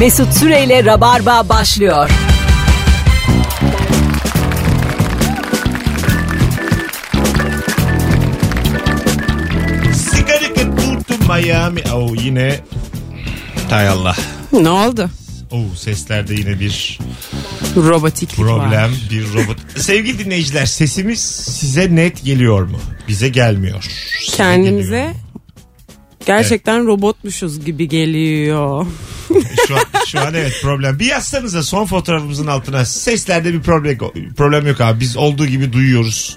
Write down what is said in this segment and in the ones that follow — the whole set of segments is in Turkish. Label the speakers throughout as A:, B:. A: Mesut Süreyle Rabarba başlıyor.
B: Sigarika tuttu Miami. Oo yine hay Allah.
C: Ne oldu?
B: Oo seslerde yine bir
C: Robotiklik var.
B: problem, bir robot. Sevgili dinleyiciler, sesimiz size net geliyor mu? Bize gelmiyor. Size geliyor
C: Kendimize
B: mu?
C: gerçekten robotmuşuz gibi geliyor.
B: Şu an, şu an evet problem. Bir yazsanıza son fotoğrafımızın altına seslerde bir problem problem yok abi. Biz olduğu gibi duyuyoruz.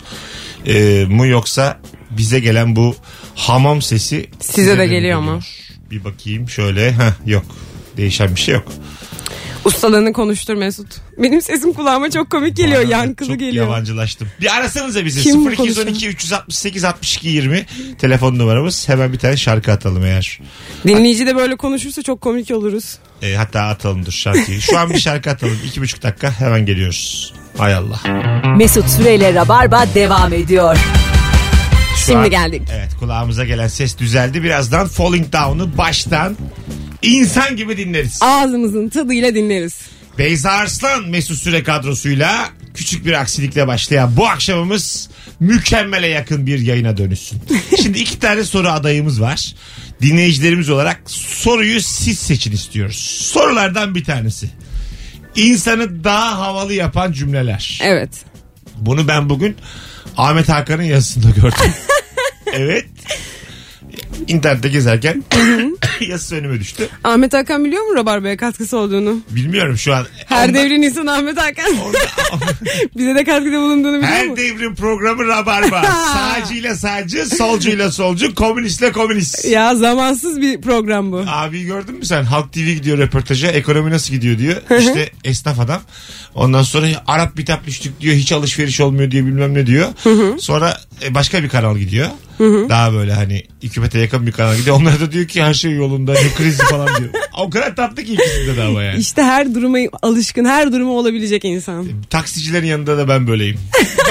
B: Ee, mu yoksa bize gelen bu hamam sesi
C: Size de
B: mi
C: geliyor mu?
B: Bir bakayım şöyle. Heh, yok. Değişen bir şey yok.
C: Ustalığını konuştur Mesut. Benim sesim kulağıma çok komik geliyor.
B: Aa,
C: yankılı
B: çok
C: geliyor.
B: yabancılaştım. Bir arasanıza bizi.
C: Kim bu
B: 0212 368 62 20 telefon numaramız. Hemen bir tane şarkı atalım eğer.
C: Dinleyici de böyle konuşursa çok komik oluruz.
B: E, hatta atalım dur şarkıyı. Şu an bir şarkı atalım. iki buçuk dakika hemen geliyoruz. Hay Allah.
A: Mesut Süreyle Rabarba devam ediyor.
B: Şu
C: Şimdi
B: an-
C: geldik.
B: Evet kulağımıza gelen ses düzeldi. Birazdan Falling Down'u baştan insan gibi dinleriz.
C: Ağzımızın tadıyla dinleriz.
B: Beyza Arslan Mesut Süre kadrosuyla küçük bir aksilikle başlayan bu akşamımız mükemmele yakın bir yayına dönüşsün. Şimdi iki tane soru adayımız var. Dinleyicilerimiz olarak soruyu siz seçin istiyoruz. Sorulardan bir tanesi. İnsanı daha havalı yapan cümleler.
C: Evet.
B: Bunu ben bugün Ahmet Hakan'ın yazısında gördüm. evet. İnternette gezerken yazısı önüme düştü.
C: Ahmet Hakan biliyor mu Rabarba'ya katkısı olduğunu?
B: Bilmiyorum şu an.
C: Her
B: Ondan-
C: devrin insanı Ahmet Hakan.
B: Orada-
C: Bize de katkıda bulunduğunu biliyor
B: Her
C: mu?
B: devrin programı Rabarba. Sağcıyla sağcı, solcuyla solcu, komünistle komünist.
C: Ya zamansız bir program bu.
B: Abi gördün mü sen? Halk TV gidiyor röportaja. Ekonomi nasıl gidiyor diyor. İşte esnaf adam. Ondan sonra Arap bitap düştük diyor. Hiç alışveriş olmuyor diyor bilmem ne diyor. Sonra e, başka bir kanal gidiyor. Daha böyle hani hükümete yakın bir kanal gidiyor. Onlar da diyor ki her şey yolunda. Ne krizi falan diyor. O kadar tatlı ki ikisinde de ama yani.
C: İşte her duruma alışkın, her duruma olabilecek insan.
B: Taksicilerin yanında da ben böyleyim.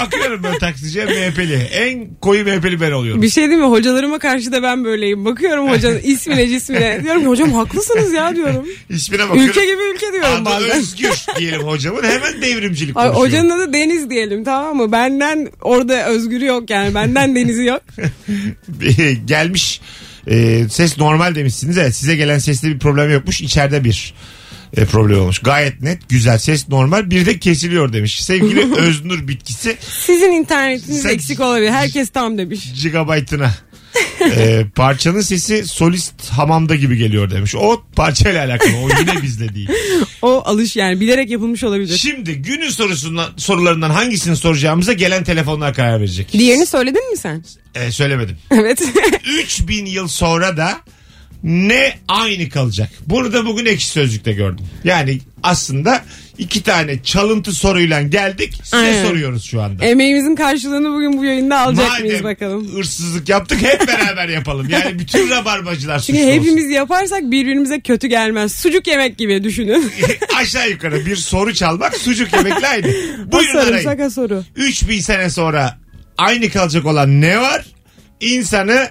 B: Bakıyorum böyle taksiciye MHP'li. En koyu MHP'li ben oluyorum.
C: Bir şey değil mi? Hocalarıma karşı da ben böyleyim. Bakıyorum hocanın ismine cismine. Diyorum ki hocam haklısınız ya diyorum.
B: İsmine bakıyorum.
C: Ülke gibi ülke diyorum
B: Adı
C: bazen.
B: Özgür diyelim hocamın hemen devrimcilik
C: Ay,
B: konuşuyor.
C: hocanın adı Deniz diyelim tamam mı? Benden orada özgürü yok yani. Benden denizi yok.
B: Gelmiş e, ses normal demişsiniz evet size gelen seste bir problem yokmuş içeride bir e, problem olmuş. Gayet net güzel ses normal bir de kesiliyor demiş. Sevgili Öznur bitkisi
C: Sizin internetiniz
B: Sen-
C: eksik olabilir. Herkes tam demiş.
B: gigabaytına. E, parçanın sesi solist hamamda gibi geliyor demiş. O parçayla alakalı o yine bizle değil.
C: O alış yani bilerek yapılmış olabilir.
B: Şimdi günün sorusundan, sorularından hangisini soracağımıza gelen telefonlar karar verecek.
C: Diğerini söyledin mi sen?
B: E, söylemedim.
C: Evet.
B: 3000 yıl sonra da ne aynı kalacak? Bunu da bugün ekşi sözlükte gördüm. Yani aslında iki tane çalıntı soruyla geldik. Size
C: Aynen.
B: soruyoruz şu anda.
C: Emeğimizin karşılığını bugün bu yayında alacak mıyız bakalım.
B: hırsızlık yaptık hep beraber yapalım. Yani bütün rabarbacılar
C: Çünkü
B: suçlu
C: hepimiz yaparsak birbirimize kötü gelmez. Sucuk yemek gibi düşünün.
B: olsun. Aşağı yukarı bir soru çalmak sucuk yemekle aynı.
C: Bu
B: Buyurun arayın.
C: sarımsaka soru.
B: 3000 sene sonra aynı kalacak olan ne var? İnsanı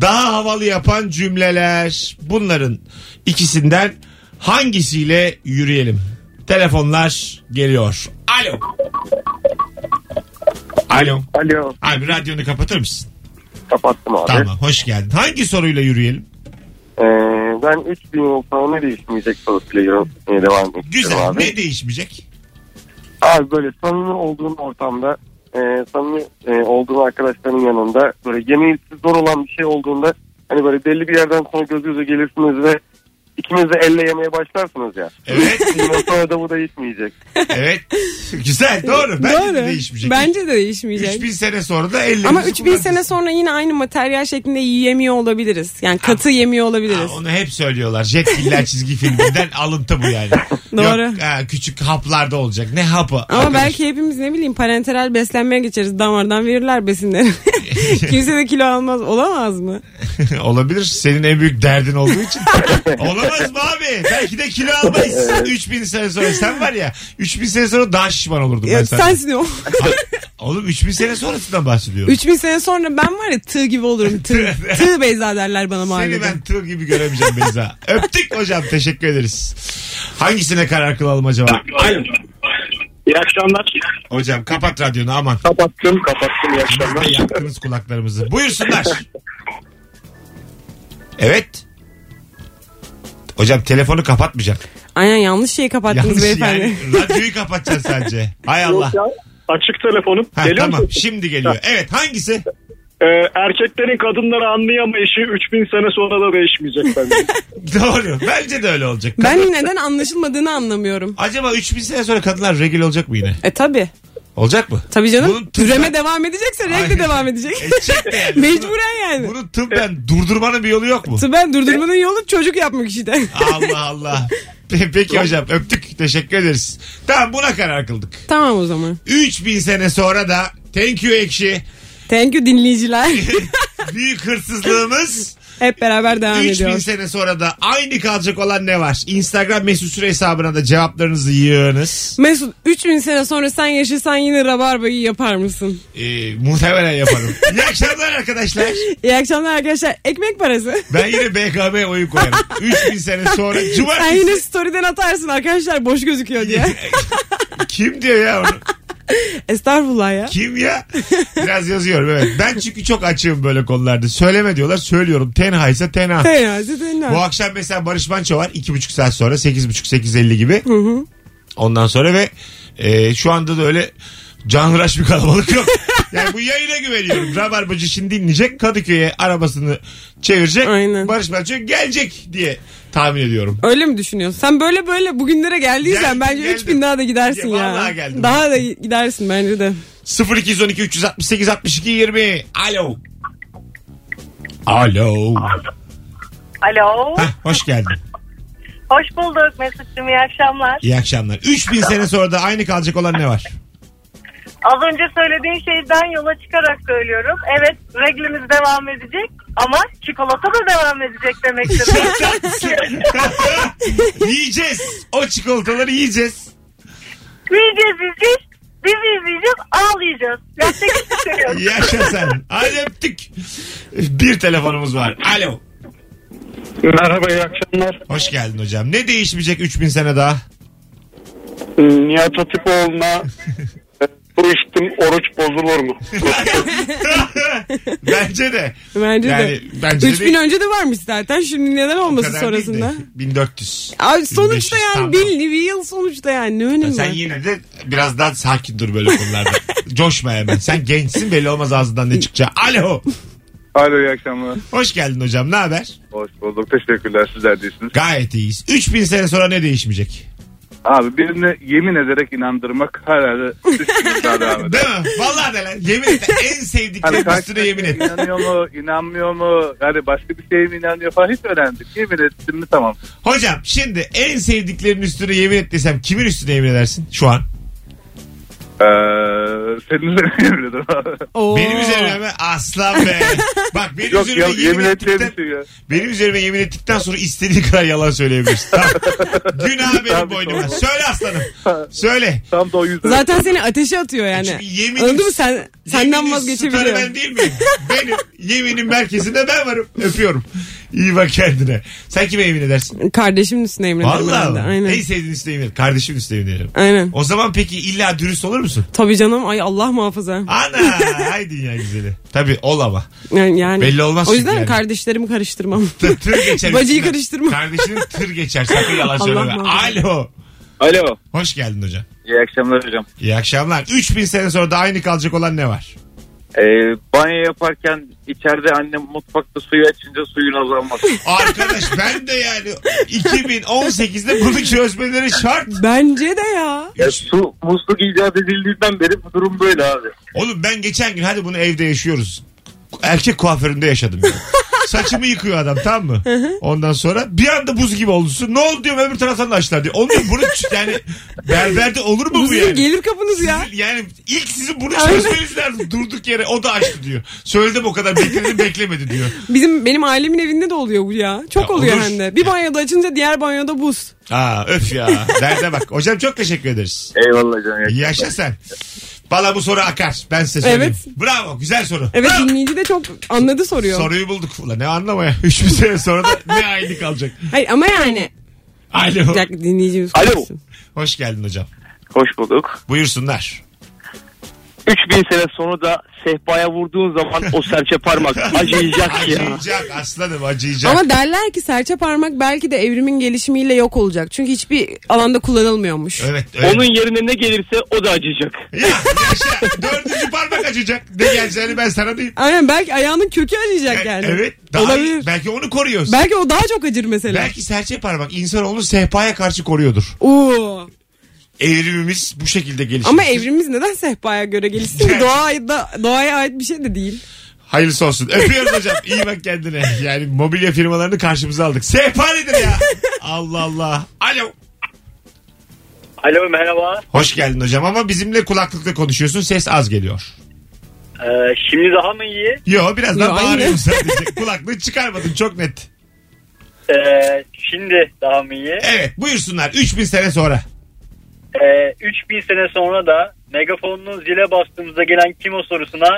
B: daha havalı yapan cümleler. Bunların ikisinden hangisiyle yürüyelim? Telefonlar geliyor. Alo. Alo.
D: Alo
B: Abi radyonu kapatır mısın?
D: kapattım abi.
B: Tamam hoş geldin. Hangi soruyla yürüyelim?
D: Ee, ben 3000 yıl sonra ne değişmeyecek sorusuyla yürümeye devam ediyorum
B: Güzel.
D: abi.
B: Ne değişmeyecek?
D: Abi böyle samimi olduğum ortamda e, samimi e, olduğum arkadaşların yanında böyle yemeğisi zor olan bir şey olduğunda hani böyle belli bir yerden sonra göz göze gelirsiniz ve ikiniz de elle yemeye başlarsınız ya.
B: Evet.
D: 3000 yıl sonra da bu değişmeyecek.
B: evet. Güzel. Doğru. Bence
C: Doğru.
B: de değişmeyecek.
C: Bence de değişmeyecek.
B: 3000 sene sonra da 50
C: Ama 3000 sene sonra yine aynı materyal şeklinde yiyemiyor olabiliriz. Yani katı yemiyor olabiliriz.
B: Aa, onu hep söylüyorlar. Jack Killer çizgi filminden alıntı bu yani.
C: Doğru.
B: Yok, ha, küçük haplarda olacak. Ne hapı?
C: Ama
B: Arkadaş,
C: belki hepimiz ne bileyim parenteral beslenmeye geçeriz. Damardan verirler besinleri. Kimse de kilo almaz. Olamaz mı?
B: Olabilir. Senin en büyük derdin olduğu için. Olamaz mı abi? Belki de kilo almayız. 3000 sene sonra sen var ya. 3000 sene sonra daha şişman olurdum ben
C: Ya,
B: sana.
C: sensin o.
B: Oğlum 3000 sene sonrasından bahsediyorum.
C: 3000 sene sonra ben var ya tığ gibi olurum. Tığ, tığ Beyza derler bana
B: Seni
C: mahallede.
B: ben tığ gibi göremeyeceğim Beyza. Öptük hocam. Teşekkür ederiz. Hangisine karar kılalım acaba?
D: Alo. İyi akşamlar.
B: Hocam kapat radyonu aman.
D: Kapattım kapattım iyi
B: Biz de
D: akşamlar.
B: yaktınız kulaklarımızı. Buyursunlar. Evet. Hocam telefonu kapatmayacak.
C: Aynen yanlış şeyi kapattınız
B: Yanlış
C: beyefendi.
B: yani. Radyoyu kapatacaksın sadece. Hay Allah.
E: Ya, Açık telefonum.
B: Ha,
E: Geliyor
B: tamam
E: musun?
B: şimdi geliyor. Evet hangisi?
E: Ee, erkeklerin kadınları anlayamayışı 3000 sene sonra da değişmeyecek bence.
B: Doğru. Bence de öyle olacak.
C: Ben neden anlaşılmadığını anlamıyorum.
B: Acaba 3000 sene sonra kadınlar regül olacak mı yine?
C: E tabi.
B: Olacak mı?
C: Tabi canım.
B: Bunun tıbben-
C: Türeme devam edecekse renk
B: Aynen.
C: de devam edecek.
B: Edecek de yani.
C: Mecburen yani.
B: Bunu tıbben durdurmanın bir yolu yok mu?
C: Ben durdurmanın yolu çocuk yapmak işte.
B: Allah Allah. Pe- Peki hocam öptük. Teşekkür ederiz. Tamam buna karar kıldık.
C: tamam o zaman.
B: 3000 sene sonra da thank you ekşi
C: Thank you dinleyiciler.
B: büyük hırsızlığımız
C: Hep beraber devam
B: 3000
C: ediyoruz.
B: sene sonra da aynı kalacak olan ne var? Instagram mesut süre hesabına da cevaplarınızı yığınız.
C: Mesut 3000 sene sonra sen yaşasan yine rabarbayı yapar mısın?
B: Ee, muhtemelen yaparım. İyi akşamlar arkadaşlar.
C: İyi akşamlar arkadaşlar. Ekmek parası.
B: Ben yine BKM oyun koyarım. 3000 sene sonra
C: Sen
B: cumartesi.
C: yine story'den atarsın arkadaşlar boş gözüküyor diye.
B: Kim diyor ya onu?
C: Estağfurullah ya.
B: Kim ya? Biraz yazıyorum evet. Ben çünkü çok açığım böyle konularda. Söyleme diyorlar söylüyorum. Tenha ise tenha.
C: Teyze
B: Bu
C: teyze.
B: akşam mesela Barış Manço var. 2,5 saat sonra 8.30-8.50 gibi. Ondan sonra ve e, şu anda da öyle canhıraş bir kalabalık yok. yani bu yayına güveniyorum. Rabarbacı şimdi dinleyecek. Kadıköy'e arabasını çevirecek.
C: Aynen.
B: Barış Manço gelecek diye tahmin ediyorum.
C: Öyle mi düşünüyorsun? Sen böyle böyle bugünlere geldiysen
B: Geldim,
C: bence
B: geldim.
C: 3000 daha da gidersin
B: Ya
C: ya.
B: vallahi geldim.
C: Daha da gidersin bence de.
B: 0212 368 62 20. Alo. Alo.
F: Alo.
B: Hah, hoş geldin.
F: Hoş bulduk Mesut'cum iyi akşamlar.
B: İyi akşamlar. 3000 sene sonra da aynı kalacak olan ne var?
F: Az önce söylediğin şeyden yola çıkarak söylüyorum. Evet reglimiz devam edecek ama çikolata da devam edecek demektir.
B: yiyeceğiz. O çikolataları yiyeceğiz.
F: yiyeceğiz yiyeceğiz. Biz izleyeceğiz ağlayacağız. Yapacak hiçbir şey yok.
B: Yaşa sen. Hadi öptük. Bir telefonumuz var. Alo.
E: Merhaba iyi akşamlar.
B: Hoş geldin hocam. Ne değişmeyecek 3000 sene daha?
E: Ee, Nihat Hatipoğlu'na e, bu içtim oruç bozulur mu?
B: bence de.
C: Bence
B: Yani
C: de.
B: bence de
C: 3000
B: değil.
C: önce de varmış zaten. Şimdi neden
B: O
C: olmasın
B: kadar değil de.
C: sonrasında?
B: 1400.
C: Abi sonuçta
B: 1500
C: yani
B: tam.
C: bir, bir yıl sonuçta yani ne önemi
B: Sen
C: var?
B: yine de biraz daha sakin dur böyle konularda. Coşma hemen. Sen gençsin belli olmaz ağzından ne çıkacağı. Alo.
G: Alo iyi akşamlar.
B: Hoş geldin hocam. Ne haber?
G: Hoş bulduk. Teşekkürler. Sizler değilsiniz.
B: Gayet iyiyiz. 3000 sene sonra ne değişmeyecek?
G: Abi birine yemin ederek inandırmak herhalde üstüne daha devam eder. Hani
B: Değil mi? Vallahi de lan. Yemin et. En sevdiklerim
G: karşı
B: üstüne yemin et.
G: İnanıyor mu, inanmıyor mu? Yani başka bir şeye mi inanıyor falan hiç önemli. değil. Yemin ettim mi tamam.
B: Hocam şimdi en sevdiklerinin üstüne yemin et desem kimin üstüne yemin edersin şu an?
G: Ee, senin de yemin ederim abi.
C: Oo.
B: Benim üzerime mi? aslan be. Bak benim
G: Yok
B: üzerime
G: ya,
B: yemin,
G: yemin ettiğim
B: ettikten,
G: şey ya.
B: benim üzerime yemin ettikten sonra istediği kadar yalan söyleyebilirsin. Tamam. Günah benim
G: Tabii,
B: boynuma.
G: doğru.
B: Söyle aslanım. Söyle.
G: Tam da o yüzden.
C: Zaten seni ateşe atıyor yani.
B: Çünkü yeminim-
C: Anladın mı? Sen, senden
B: Yeminin starı
C: vazgeçebiliyor.
B: ben değil miyim? Benim yeminin merkezinde ben varım. Öpüyorum. İyi bak kendine. Sen kime yemin edersin?
C: Kardeşimin üstüne emrederim. herhalde.
B: Valla.
C: Aynen.
B: En sevdiğin üstüne yemin ederim. Kardeşimin üstüne yemin ederim.
C: Aynen.
B: O zaman peki illa dürüst olur musun?
C: Tabii canım ay Allah muhafaza.
B: Ana hay dünya güzeli. Tabii ol ama.
C: Yani, yani.
B: Belli olmaz
C: O
B: çünkü
C: yüzden
B: yani.
C: kardeşlerimi karıştırmam.
B: Tır, tır geçer.
C: Bacıyı
B: üstünden.
C: karıştırma.
B: Kardeşinin tır geçer. Sakın yalan
C: Allah
B: söyleme.
C: muhafaza.
B: Alo.
G: Alo.
B: Hoş geldin hocam.
G: İyi akşamlar hocam.
B: İyi akşamlar. 3000 sene sonra da aynı kalacak olan ne var?
G: Ee, banyo yaparken içeride annem mutfakta suyu açınca suyun azalması.
B: Arkadaş ben de yani 2018'de bunu çözmeleri şart.
C: Bence de ya.
G: E, su musluk icat edildiğinden beri bu durum böyle abi.
B: Oğlum ben geçen gün hadi bunu evde yaşıyoruz. Erkek kuaföründe yaşadım yani. Saçımı yıkıyor adam tamam mı? Ondan sonra bir anda buz gibi oldu. su. Ne oldu diyorum öbür taraftan da açtılar diyor. Oğlum diyorum, bunu ç- yani berberde olur mu
C: Bu
B: bu
C: sizin
B: yani?
C: gelir kapınız ya.
B: Sizin- Yani ilk sizin bunu çözmeniz lazım. Durduk yere o da açtı diyor. Söyledim o kadar bekledim beklemedi diyor.
C: Bizim benim ailemin evinde de oluyor bu ya. Çok
B: Ya
C: oluyor
B: olur.
C: hem de. Bir banyoda açınca diğer banyoda buz.
B: Aa öf ya. Derde bak. Hocam çok teşekkür ederiz.
G: Eyvallah canım.
B: Yaşa sen. Valla bu soru akar. Ben size söyleyeyim.
C: Evet.
B: Bravo. Güzel soru.
C: Evet
B: Bravo.
C: dinleyici de çok anladı soruyor.
B: Soruyu bulduk. Ulan ne anlamaya. Üç bir sene sonra da ne aynı kalacak.
C: Hayır ama yani
B: Alo.
C: Bir dakika dinleyicimiz
G: Alo.
C: konuşsun.
B: Hoş geldin hocam.
G: Hoş bulduk.
B: Buyursunlar.
G: 3000 sene sonra da sehpaya vurduğun zaman o serçe parmak acıyacak ya.
B: Acıyacak aslanım acıyacak.
C: Ama derler ki serçe parmak belki de evrimin gelişimiyle yok olacak. Çünkü hiçbir alanda kullanılmıyormuş.
B: Evet öyle.
G: Onun yerine ne gelirse o da acıyacak.
B: Ya, yaşa. Dördüncü parmak acıyacak. Ne geleceğini ben sana diyeyim. E,
C: Aynen belki ayağının kökü acıyacak yani.
B: Evet. Daha
C: Olabilir.
B: Belki onu koruyoruz.
C: Belki o daha çok acır mesela.
B: Belki serçe parmak insanoğlu sehpaya karşı koruyordur.
C: Oo.
B: Evrimimiz bu şekilde gelişmiş.
C: Ama evrimimiz neden sehpaya göre gelişti ki? Doğada, doğaya ait bir şey de değil.
B: Hayırlısı olsun. Öpüyoruz hocam. İyi bak kendine. Yani mobilya firmalarını karşımıza aldık. Sehpa nedir ya? Allah Allah. Alo.
E: Alo merhaba.
B: Hoş geldin hocam ama bizimle kulaklıkla konuşuyorsun. Ses az geliyor.
E: Ee, şimdi daha mı iyi?
B: Yo biraz daha
C: Yo, aynı.
B: bağırıyorum sadece. Kulaklığı çıkarmadın çok net.
E: Ee, şimdi daha mı iyi?
B: Evet buyursunlar. 3000 sene sonra.
E: Ee, 3000 sene sonra da megafonunun zile bastığımızda gelen kim o sorusuna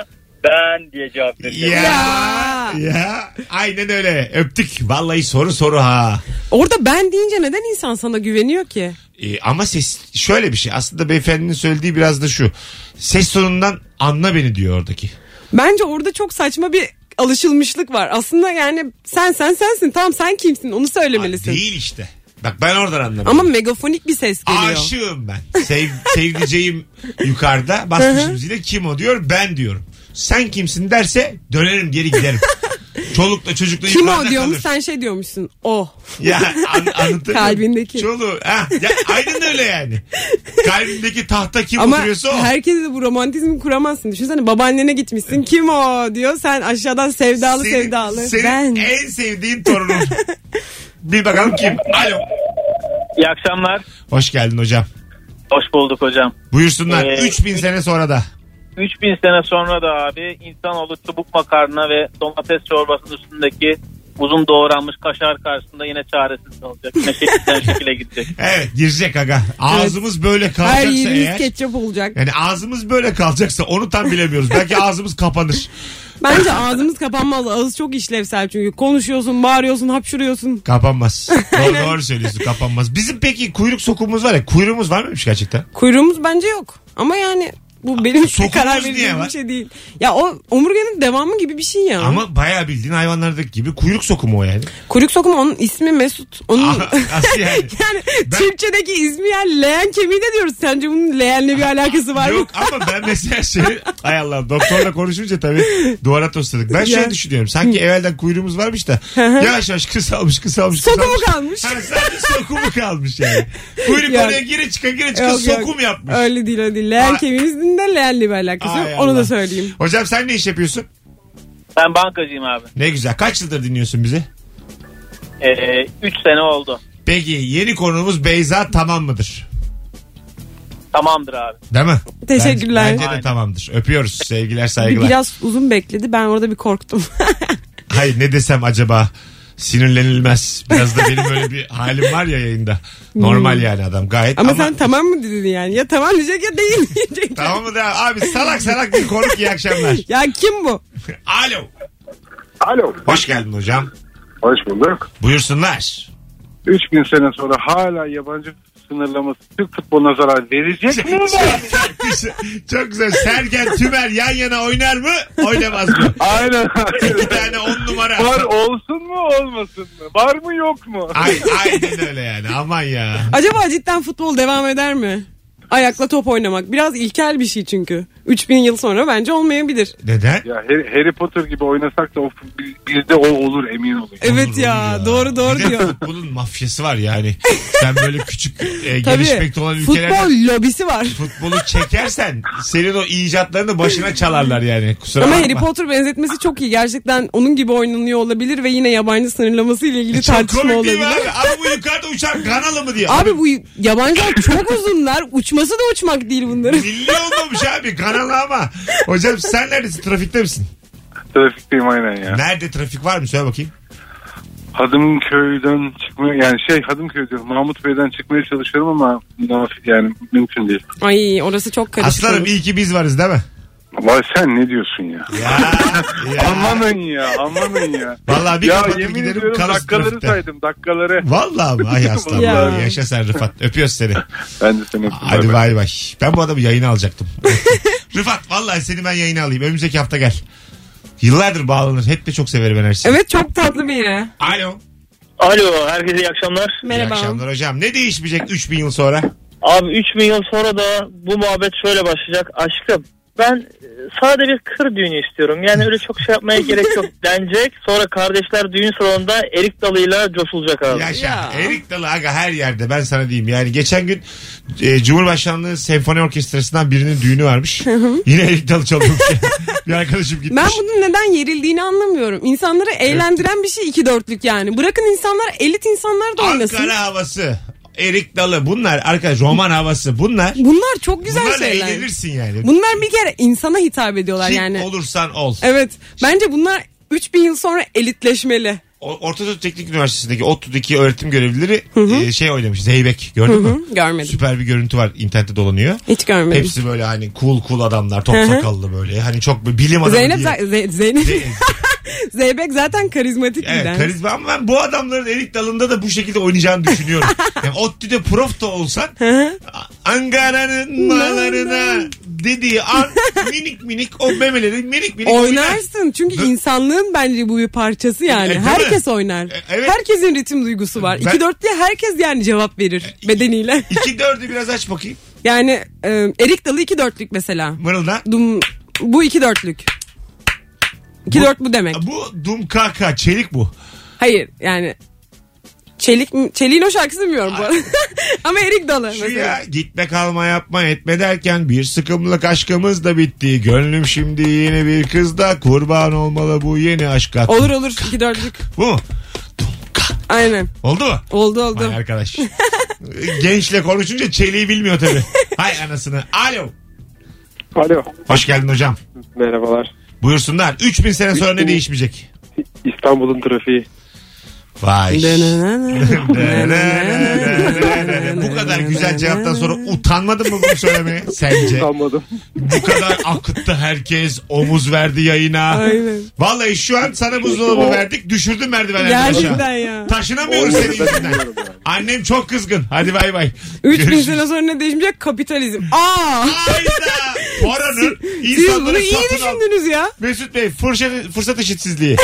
E: ben diye cevap vereceğim.
B: Ya. Ya. Aynen öyle. Öptük. Vallahi soru soru ha.
C: Orada ben deyince neden insan sana güveniyor ki?
B: Ee, ama ses şöyle bir şey. Aslında beyefendinin söylediği biraz da şu. Ses sonundan anla beni diyor oradaki.
C: Bence orada çok saçma bir alışılmışlık var. Aslında yani sen sen sensin. Tamam sen kimsin onu söylemelisin.
B: Değil işte. Bak ben oradan anlamadım.
C: Ama megafonik bir ses geliyor.
B: Aşığım ben. Sev, sevdiceğim yukarıda. Basmışım zile kim o diyor ben diyorum. Sen kimsin derse dönerim geri giderim. Çolukla çocukla
C: Kim
B: yukarıda
C: o diyormuş
B: kalır.
C: sen şey diyormuşsun. O.
B: Ya an, anlatabiliyor muyum?
C: Kalbindeki.
B: Çoluğu. Ha, ya, aynen öyle yani. Kalbindeki tahta kim
C: Ama
B: oturuyorsa o.
C: herkese de bu romantizmi kuramazsın. Düşünsene babaannene gitmişsin. Kim o diyor. Sen aşağıdan sevdalı
B: Senin-
C: sevdalı.
B: Senin
C: ben.
B: en sevdiğin torunun. Bir bakalım kim? Alo.
E: İyi akşamlar.
B: Hoş geldin hocam.
E: Hoş bulduk hocam.
B: Buyursunlar.
E: Ee,
B: 3000 sene sonra da.
E: 3000 sene sonra da abi insanoğlu çubuk makarna ve domates çorbasının üstündeki uzun doğranmış kaşar karşısında yine çaresiz kalacak. Ne şekilden şekile gidecek.
B: Evet girecek aga. Ağzımız böyle
C: Her
B: kalacaksa
C: yerimiz
B: eğer.
C: ketçap olacak.
B: Yani ağzımız böyle kalacaksa onu tam bilemiyoruz. Belki ağzımız kapanır.
C: Bence ağzımız kapanmalı. Ağız çok işlevsel çünkü. Konuşuyorsun, bağırıyorsun, hapşırıyorsun.
B: Kapanmaz. doğru, doğru söylüyorsun kapanmaz. Bizim peki kuyruk sokumumuz var ya kuyruğumuz var mıymış gerçekten?
C: Kuyruğumuz bence yok. Ama yani bu benim
B: Sokumuz
C: karar
B: niye
C: verdiğim
B: var?
C: bir şey değil. Ya o omurganın devamı gibi bir şey ya.
B: Ama bayağı bildiğin hayvanlardaki gibi kuyruk sokumu o yani.
C: Kuyruk sokumu onun ismi Mesut. Onun
B: Ah, Nasıl yani?
C: yani
B: Ben-
C: Türkçedeki ismi yani leğen kemiği de diyoruz. Sence bunun leğenle bir alakası var mı?
B: Yok ama ben mesela şey ay Allah doktorla konuşunca tabii duvara tosladık. Ben şöyle
C: Ya.
B: düşünüyorum. Sanki evvelden kuyruğumuz varmış da yavaş yavaş kısalmış kısalmış
C: Sokumu
B: kısalmış.
C: kalmış.
B: Ha, sadece sokumu kalmış yani. Kuyruk
C: Ya.
B: oraya gire çıka gire çıka
C: Yok, yok.
B: sokum yapmış.
C: Öyle değil öyle değil. Leğen
B: Ay.
C: kemiğimizin de leğenle bir alakası yok.
B: Ay
C: Onu
B: Allah.
C: da söyleyeyim.
B: Hocam sen ne iş yapıyorsun?
E: Ben bankacıyım abi.
B: Ne güzel. Kaç yıldır dinliyorsun bizi?
E: 3 Ee, sene oldu.
B: Peki yeni konumuz Beyza tamam mıdır?
E: Tamamdır abi.
B: Değil mi?
C: Teşekkürler.
B: Bence, bence de
E: Aynen.
B: tamamdır. Öpüyoruz. Sevgiler
C: Bir-
B: saygılar.
C: Biraz uzun bekledi. Ben orada bir korktum.
B: Hayır ne desem acaba sinirlenilmez. Biraz da benim öyle bir halim var ya yayında. Normal yani adam gayet.
C: Hmm. Ama, sen tamam mı dedin yani? Ya tamam diyecek ya değil diyecek.
B: Tamam mı da abi salak salak bir konuk iyi akşamlar.
C: Ya kim bu?
B: Alo.
D: Alo.
B: Hoş geldin hocam.
D: Hoş bulduk.
B: Buyursunlar.
D: 3000 sene sonra hala yabancı sınırlaması Türk futboluna zarar verecek mi?
B: Çok güzel. Sergen Tümer yan yana oynar mı? Oynamaz mı?
D: Aynen.
B: Bir tane on numara.
D: Var olsun mu olmasın mı? Var mı yok mu?
B: Ay, aynen öyle yani. Aman ya.
C: Acaba cidden futbol devam eder mi? Ayakla top oynamak. Biraz ilkel bir şey çünkü. 3000 yıl sonra bence olmayabilir.
B: Neden?
D: Ya Harry, Harry Potter gibi oynasak da o, bizde o olur emin olun.
C: Evet ya, doğru doğru
B: Bir de
C: diyor.
B: Futbolun mafyası var yani. Sen böyle küçük e,
C: Tabii.
B: gelişmekte olan ülkelerde
C: Futbol lobisi var.
B: futbolu çekersen senin o icatlarını başına çalarlar yani. Kusura
C: Ama
B: bakma.
C: Harry Potter benzetmesi çok iyi. Gerçekten onun gibi oynanıyor olabilir ve yine yabancı sınırlaması ile ilgili
B: E Çok
C: tartışma
B: komik değil mi
C: olabilir.
B: abi? Abi bu yukarıda uçan kanalı mı diye.
C: Abi bu yabancılar çok uzunlar. Uçması da uçmak değil bunların.
B: Milli olmamış abi kanalı ama. Hocam sen neredesin? Trafikte misin?
D: Trafikteyim aynen ya.
B: Nerede trafik var mı? Söyle bakayım.
D: Hadımköy'den çıkmaya yani şey Hadımköy diyorum Mahmut Bey'den çıkmaya çalışıyorum ama nafile yani mümkün değil.
C: Ay orası çok karışık.
B: Aslanım iyi ki biz varız değil mi?
H: Vay sen ne diyorsun ya?
B: Ya, ya.
H: Amanın ya amanın ya.
B: Vallahi bir
H: ya
B: kapatıp
H: yemin
B: giderim,
H: ediyorum
B: karısı
H: dakikaları
B: trafikte.
H: saydım dakikaları.
B: Vallahi mı? Ay aslanım.
C: Ya.
B: Yaşa sen Rıfat. Öpüyoruz seni.
H: Ben de seni öptüm.
B: Hadi bay bay. Ben bu adamı yayına alacaktım. Rıfat vallahi seni ben yayına alayım. Önümüzdeki hafta gel. Yıllardır bağlanır. Hep de çok severim enerjisini.
C: Evet çok tatlı biri.
B: Alo.
E: Alo herkese iyi akşamlar.
B: İyi akşamlar hocam. Ne değişmeyecek 3000 yıl sonra?
E: Abi 3000 yıl sonra da bu muhabbet şöyle başlayacak. Aşkım ben e, sade bir kır düğünü istiyorum. Yani öyle çok şey yapmaya gerek yok denecek. Sonra kardeşler düğün salonunda erik dalıyla coşulacak abi.
B: Yaşa.
C: Ya.
B: Erik Dalı aga her yerde ben sana diyeyim. Yani geçen gün e, Cumhurbaşkanlığı Senfoni Orkestrası'ndan birinin düğünü varmış. Yine Erik Dalı çalıyormuş. bir arkadaşım gitmiş.
C: Ben bunun neden yerildiğini anlamıyorum. İnsanları eğlendiren bir şey iki dörtlük yani. Bırakın insanlar elit insanlar da oynasın.
B: Ankara havası. Erik Dalı bunlar arkadaş roman havası bunlar.
C: Bunlar çok güzel
B: Bunlarla
C: şeyler.
B: eğlenirsin yani.
C: Bunlar bir kere insana hitap ediyorlar
B: Kim
C: yani.
B: olursan ol.
C: Evet. Bence bunlar 3000 yıl sonra elitleşmeli.
B: O- Orta Doğu Teknik Üniversitesi'ndeki ODTÜ'deki öğretim görevlileri e, şey oynamış. Zeybek gördün mü?
C: Hı, görmedim.
B: Süper bir görüntü var internette dolanıyor.
C: Hiç görmedim.
B: Hepsi böyle hani cool cool adamlar top
C: Hı hı.
B: sakallı böyle. Hani çok bir bilim adamı
C: Zeynep,
B: diye.
C: za- Ze- Zeynep Zeybek zaten karizmatik bir
B: Evet
C: dans.
B: karizma ama ben bu adamların erik dalında da bu şekilde oynayacağını düşünüyorum. yani ODTÜ'de prof da olsan Ankara'nın malarına dediği an minik minik o memeleri minik minik oynar.
C: Oynarsın çünkü
B: Dur.
C: insanlığın bence bu bir parçası yani.
B: E, tabii.
C: herkes oynar.
B: E, evet.
C: Herkesin ritim duygusu var.
B: Ben- E,
C: 2 dörtlüye herkes yani cevap verir bedeniyle.
B: İki dördü biraz aç bakayım.
C: yani e, erik dalı 2 dörtlük mesela.
B: Mırıldan.
C: Dum, bu 2 dörtlük. 2 dört bu demek.
B: Bu dum kaka çelik bu.
C: Hayır yani Çelik mi- Çelik'in o şarkısı bilmiyorum bu arada. Ama erik dalı
B: Şu
C: mesela.
B: ya gitme kalma yapma etme derken bir sıkımlık aşkımız da bitti. Gönlüm şimdi yeni bir kızda kurban olmalı bu yeni aşka.
C: Olur olur 2 dörtlük.
B: bu mu?
C: Aynen.
B: Oldu mu?
C: Oldu oldu.
B: Vay arkadaş. Gençle konuşunca çeliği bilmiyor tabii. Hay anasını. Alo.
D: Alo.
B: Hoş geldin hocam.
D: Merhabalar.
B: Buyursunlar. 3000 sene sonra ne değişmeyecek?
D: İstanbul'un trafiği.
B: Vay.
C: Bu
B: bu kadar güzel cevaptan sonra utanmadın mı bunu söylemeye sence?
D: Sanmadım.
B: Bu kadar akıttı herkes. Omuz verdi yayına.
C: Aynen.
B: Vallahi şu an sana buzdolabı verdik. Düşürdün merdivenlerden
C: Gerçekten
B: aşağı.
C: ya.
B: Taşınamıyoruz senin yüzünden. Annem çok kızgın. Hadi bay bay.
C: 3000
B: Görüşürüz.
C: sene sonra ne değişmeyecek? Kapitalizm. Aa!
B: Hayda. Paranın
C: Siz bunu
B: insanları
C: iyi
B: satın al.
C: düşündünüz ya.
B: Mesut Bey fırsat, fırsat eşitsizliği.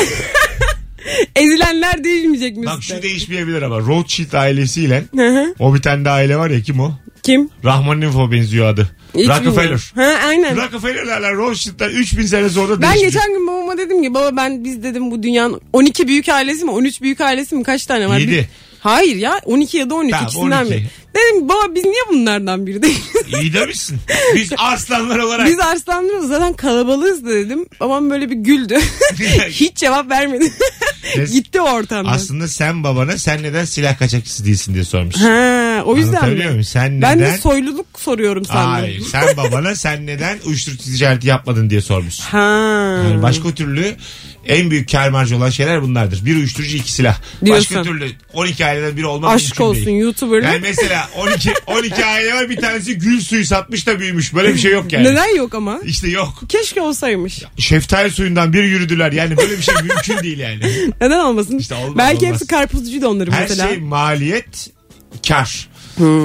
C: Ezilenler değişmeyecek mi?
B: Bak
C: size?
B: şu değişmeyebilir ama. Rothschild ailesiyle
C: Hı hı.
B: o bir tane de aile var ya kim o?
C: Kim?
B: Rahmaninfo benziyor adı.
C: Hiç bilmiyorum.
B: Rockefeller.
C: Ha, aynen.
B: Rockefeller'ler Rothschild'ler 3000 sene sonra
C: ben
B: değişmiş.
C: geçen gün babama dedim ki baba ben biz dedim bu dünyanın 12 büyük ailesi mi 13 büyük ailesi mi kaç tane var?
B: Yedi.
C: Bir- Hayır ya 12 ya da 13
B: Tamam,
C: ikisinden
B: 12.
C: biri. Dedim ki baba biz niye bunlardan biri değiliz?
B: İyi demişsin. Biz aslanlar olarak.
C: biz arslanlarız zaten kalabalığız da dedim. Babam böyle bir güldü. Hiç cevap vermedi.
B: Biz-
C: Gitti o ortamdan.
B: Aslında sen babana sen neden silah kaçakçısı değilsin diye sormuş.
C: Ha, o yüzden
B: Anlatabiliyor
C: mi?
B: muyum? Sen
C: Ben
B: neden?
C: de soyluluk soruyorum sandım.
B: Hayır. Sen babana sen neden uyuşturucu ticareti yapmadın diye sormuş.
C: Ha.
B: Yani başka türlü en büyük kar marjı olan şeyler bunlardır. Bir uyuşturucu iki silah. Başka
C: Diyorsun.
B: türlü 12 aileden biri olmaz.
C: Aşk
B: mümkün
C: olsun
B: şey değil.
C: YouTuber'lık.
B: Yani mesela 12 12 aile var bir tanesi gül suyu satmış da büyümüş. Böyle bir şey yok yani.
C: Neden yok ama?
B: İşte yok.
C: Keşke olsaymış.
B: Şeftali suyundan bir yürüdüler. Yani böyle bir şey mümkün değil yani.
C: Neden olmasın?
B: İşte olmaz,
C: Belki
B: olmaz.
C: hepsi karpuzcuydu onları
B: Her
C: mesela. Hmm.
B: şey maliyet, kar.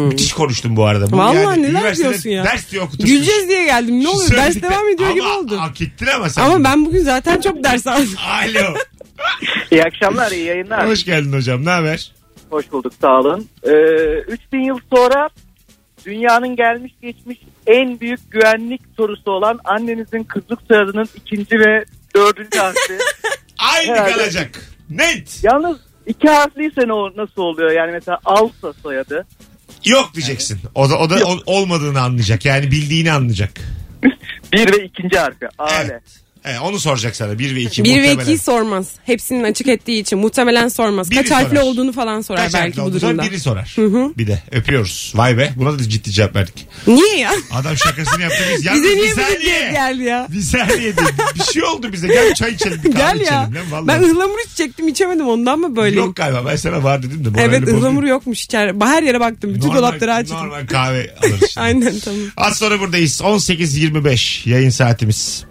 B: Müthiş konuştum bu arada. Bu
C: Vallahi neler
B: üniversitede
C: diyorsun ya.
B: Ders diye okutmuş.
C: Güleceğiz diye geldim. Ne oluyor? Ders devam ediyor gibi oldu.
B: Hak ettin Şey ama sen.
C: Ama ben bugün zaten çok ders aldım.
B: Alo.
E: İyi akşamlar iyi yayınlar.
B: Hoş geldin hocam. Ne haber?
E: Hoş bulduk sağ olun. Ee, 3000 yıl sonra dünyanın gelmiş geçmiş en büyük güvenlik sorusu olan annenizin kızlık soyadının ikinci ve dördüncü harfi.
B: Aynı
E: Herhalde.
B: kalacak. Net.
E: Yalnız iki harfliyse ne, o- nasıl oluyor yani mesela Alsa soyadı.
B: Yok diyeceksin. O da, o da ol- olmadığını anlayacak. Yani bildiğini anlayacak.
E: Bir ve ikinci harfi. Ale.
B: Evet. E, onu soracak sana 1 ve 2
C: 1 ve
B: muhtemelen.
C: 2'yi sormaz. Hepsinin açık ettiği için muhtemelen sormaz.
B: Biri
C: Kaç harfli
B: sorar.
C: olduğunu falan sorar
B: Kaç
C: belki
B: belki
C: bu durumda.
B: biri sorar. Bir de öpüyoruz. Vay be buna da ciddi cevap verdik.
C: Niye ya?
B: Adam şakasını yaptı biz. Yalnız
C: Bize
B: bir
C: niye böyle
B: saniye.
C: geldi ya?
B: Bir saniye dedi. Bir şey oldu bize. Gel çay içelim. Bir kahve
C: Gel ya.
B: içelim. Lan, vallahi.
C: Ben ıhlamur hiç çektim içemedim ondan mı böyle?
B: Yok galiba ben sana var dedim de. morali
C: evet
B: bozuldu.
C: ıhlamur yokmuş içeride. Her yere baktım. Bütün
B: Normal-
C: dolapları açtım.
B: Normal kahve alırız. şimdi.
C: Aynen tamam.
B: Az sonra buradayız. 18.25 yayın saatimiz.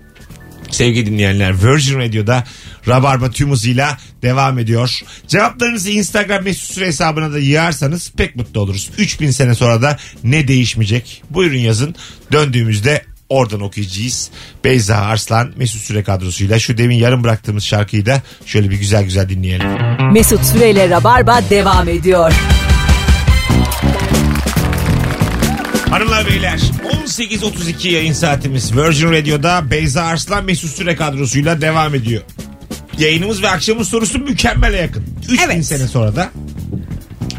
B: Sevgili dinleyenler Virgin Radio'da Rabarba tüm hızıyla devam ediyor. Cevaplarınızı Instagram mesut süre hesabına da yığarsanız pek mutlu oluruz. 3000 sene sonra da ne değişmeyecek? Buyurun yazın. Döndüğümüzde oradan okuyacağız. Beyza Arslan mesut süre kadrosuyla şu demin yarım bıraktığımız şarkıyı da şöyle bir güzel güzel dinleyelim.
A: Mesut Süreyle Rabarba devam ediyor.
B: Hanımlar beyler 18.32 yayın saatimiz Virgin Radio'da Beyza Arslan Mesut Süre kadrosuyla devam ediyor. Yayınımız ve akşamın sorusu mükemmele yakın. 3000
C: Evet.
B: sene sonra da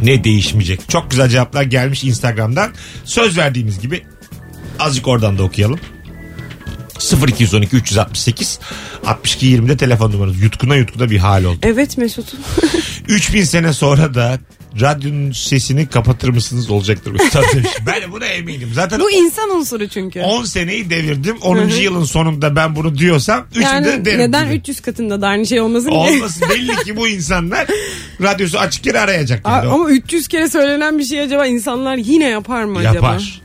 B: ne değişmeyecek? Çok güzel cevaplar gelmiş Instagram'dan. Söz verdiğimiz gibi azıcık oradan da okuyalım. 0212 368 62 20'de telefon numaranız. Yutkuna yutkuna bir hal oldu.
C: Evet Mesut'um.
B: 3000 sene sonra da radyonun sesini kapatır mısınız olacaktır. Üstad demiş. ben buna eminim. Zaten
C: Bu insan unsuru çünkü.
B: 10 seneyi devirdim. 10.
C: Hı hı.
B: yılın sonunda ben bunu diyorsam 3'ünde
C: Yani
B: derim.
C: neden
B: gibi.
C: 300 katında da aynı şey olmasın ki?
B: Olmasın belli ki bu insanlar radyosu açık yere arayacak.
C: A-
B: yani. O-
C: Ama 300 kere söylenen bir şey acaba insanlar yine yapar mı acaba?
B: Yapar.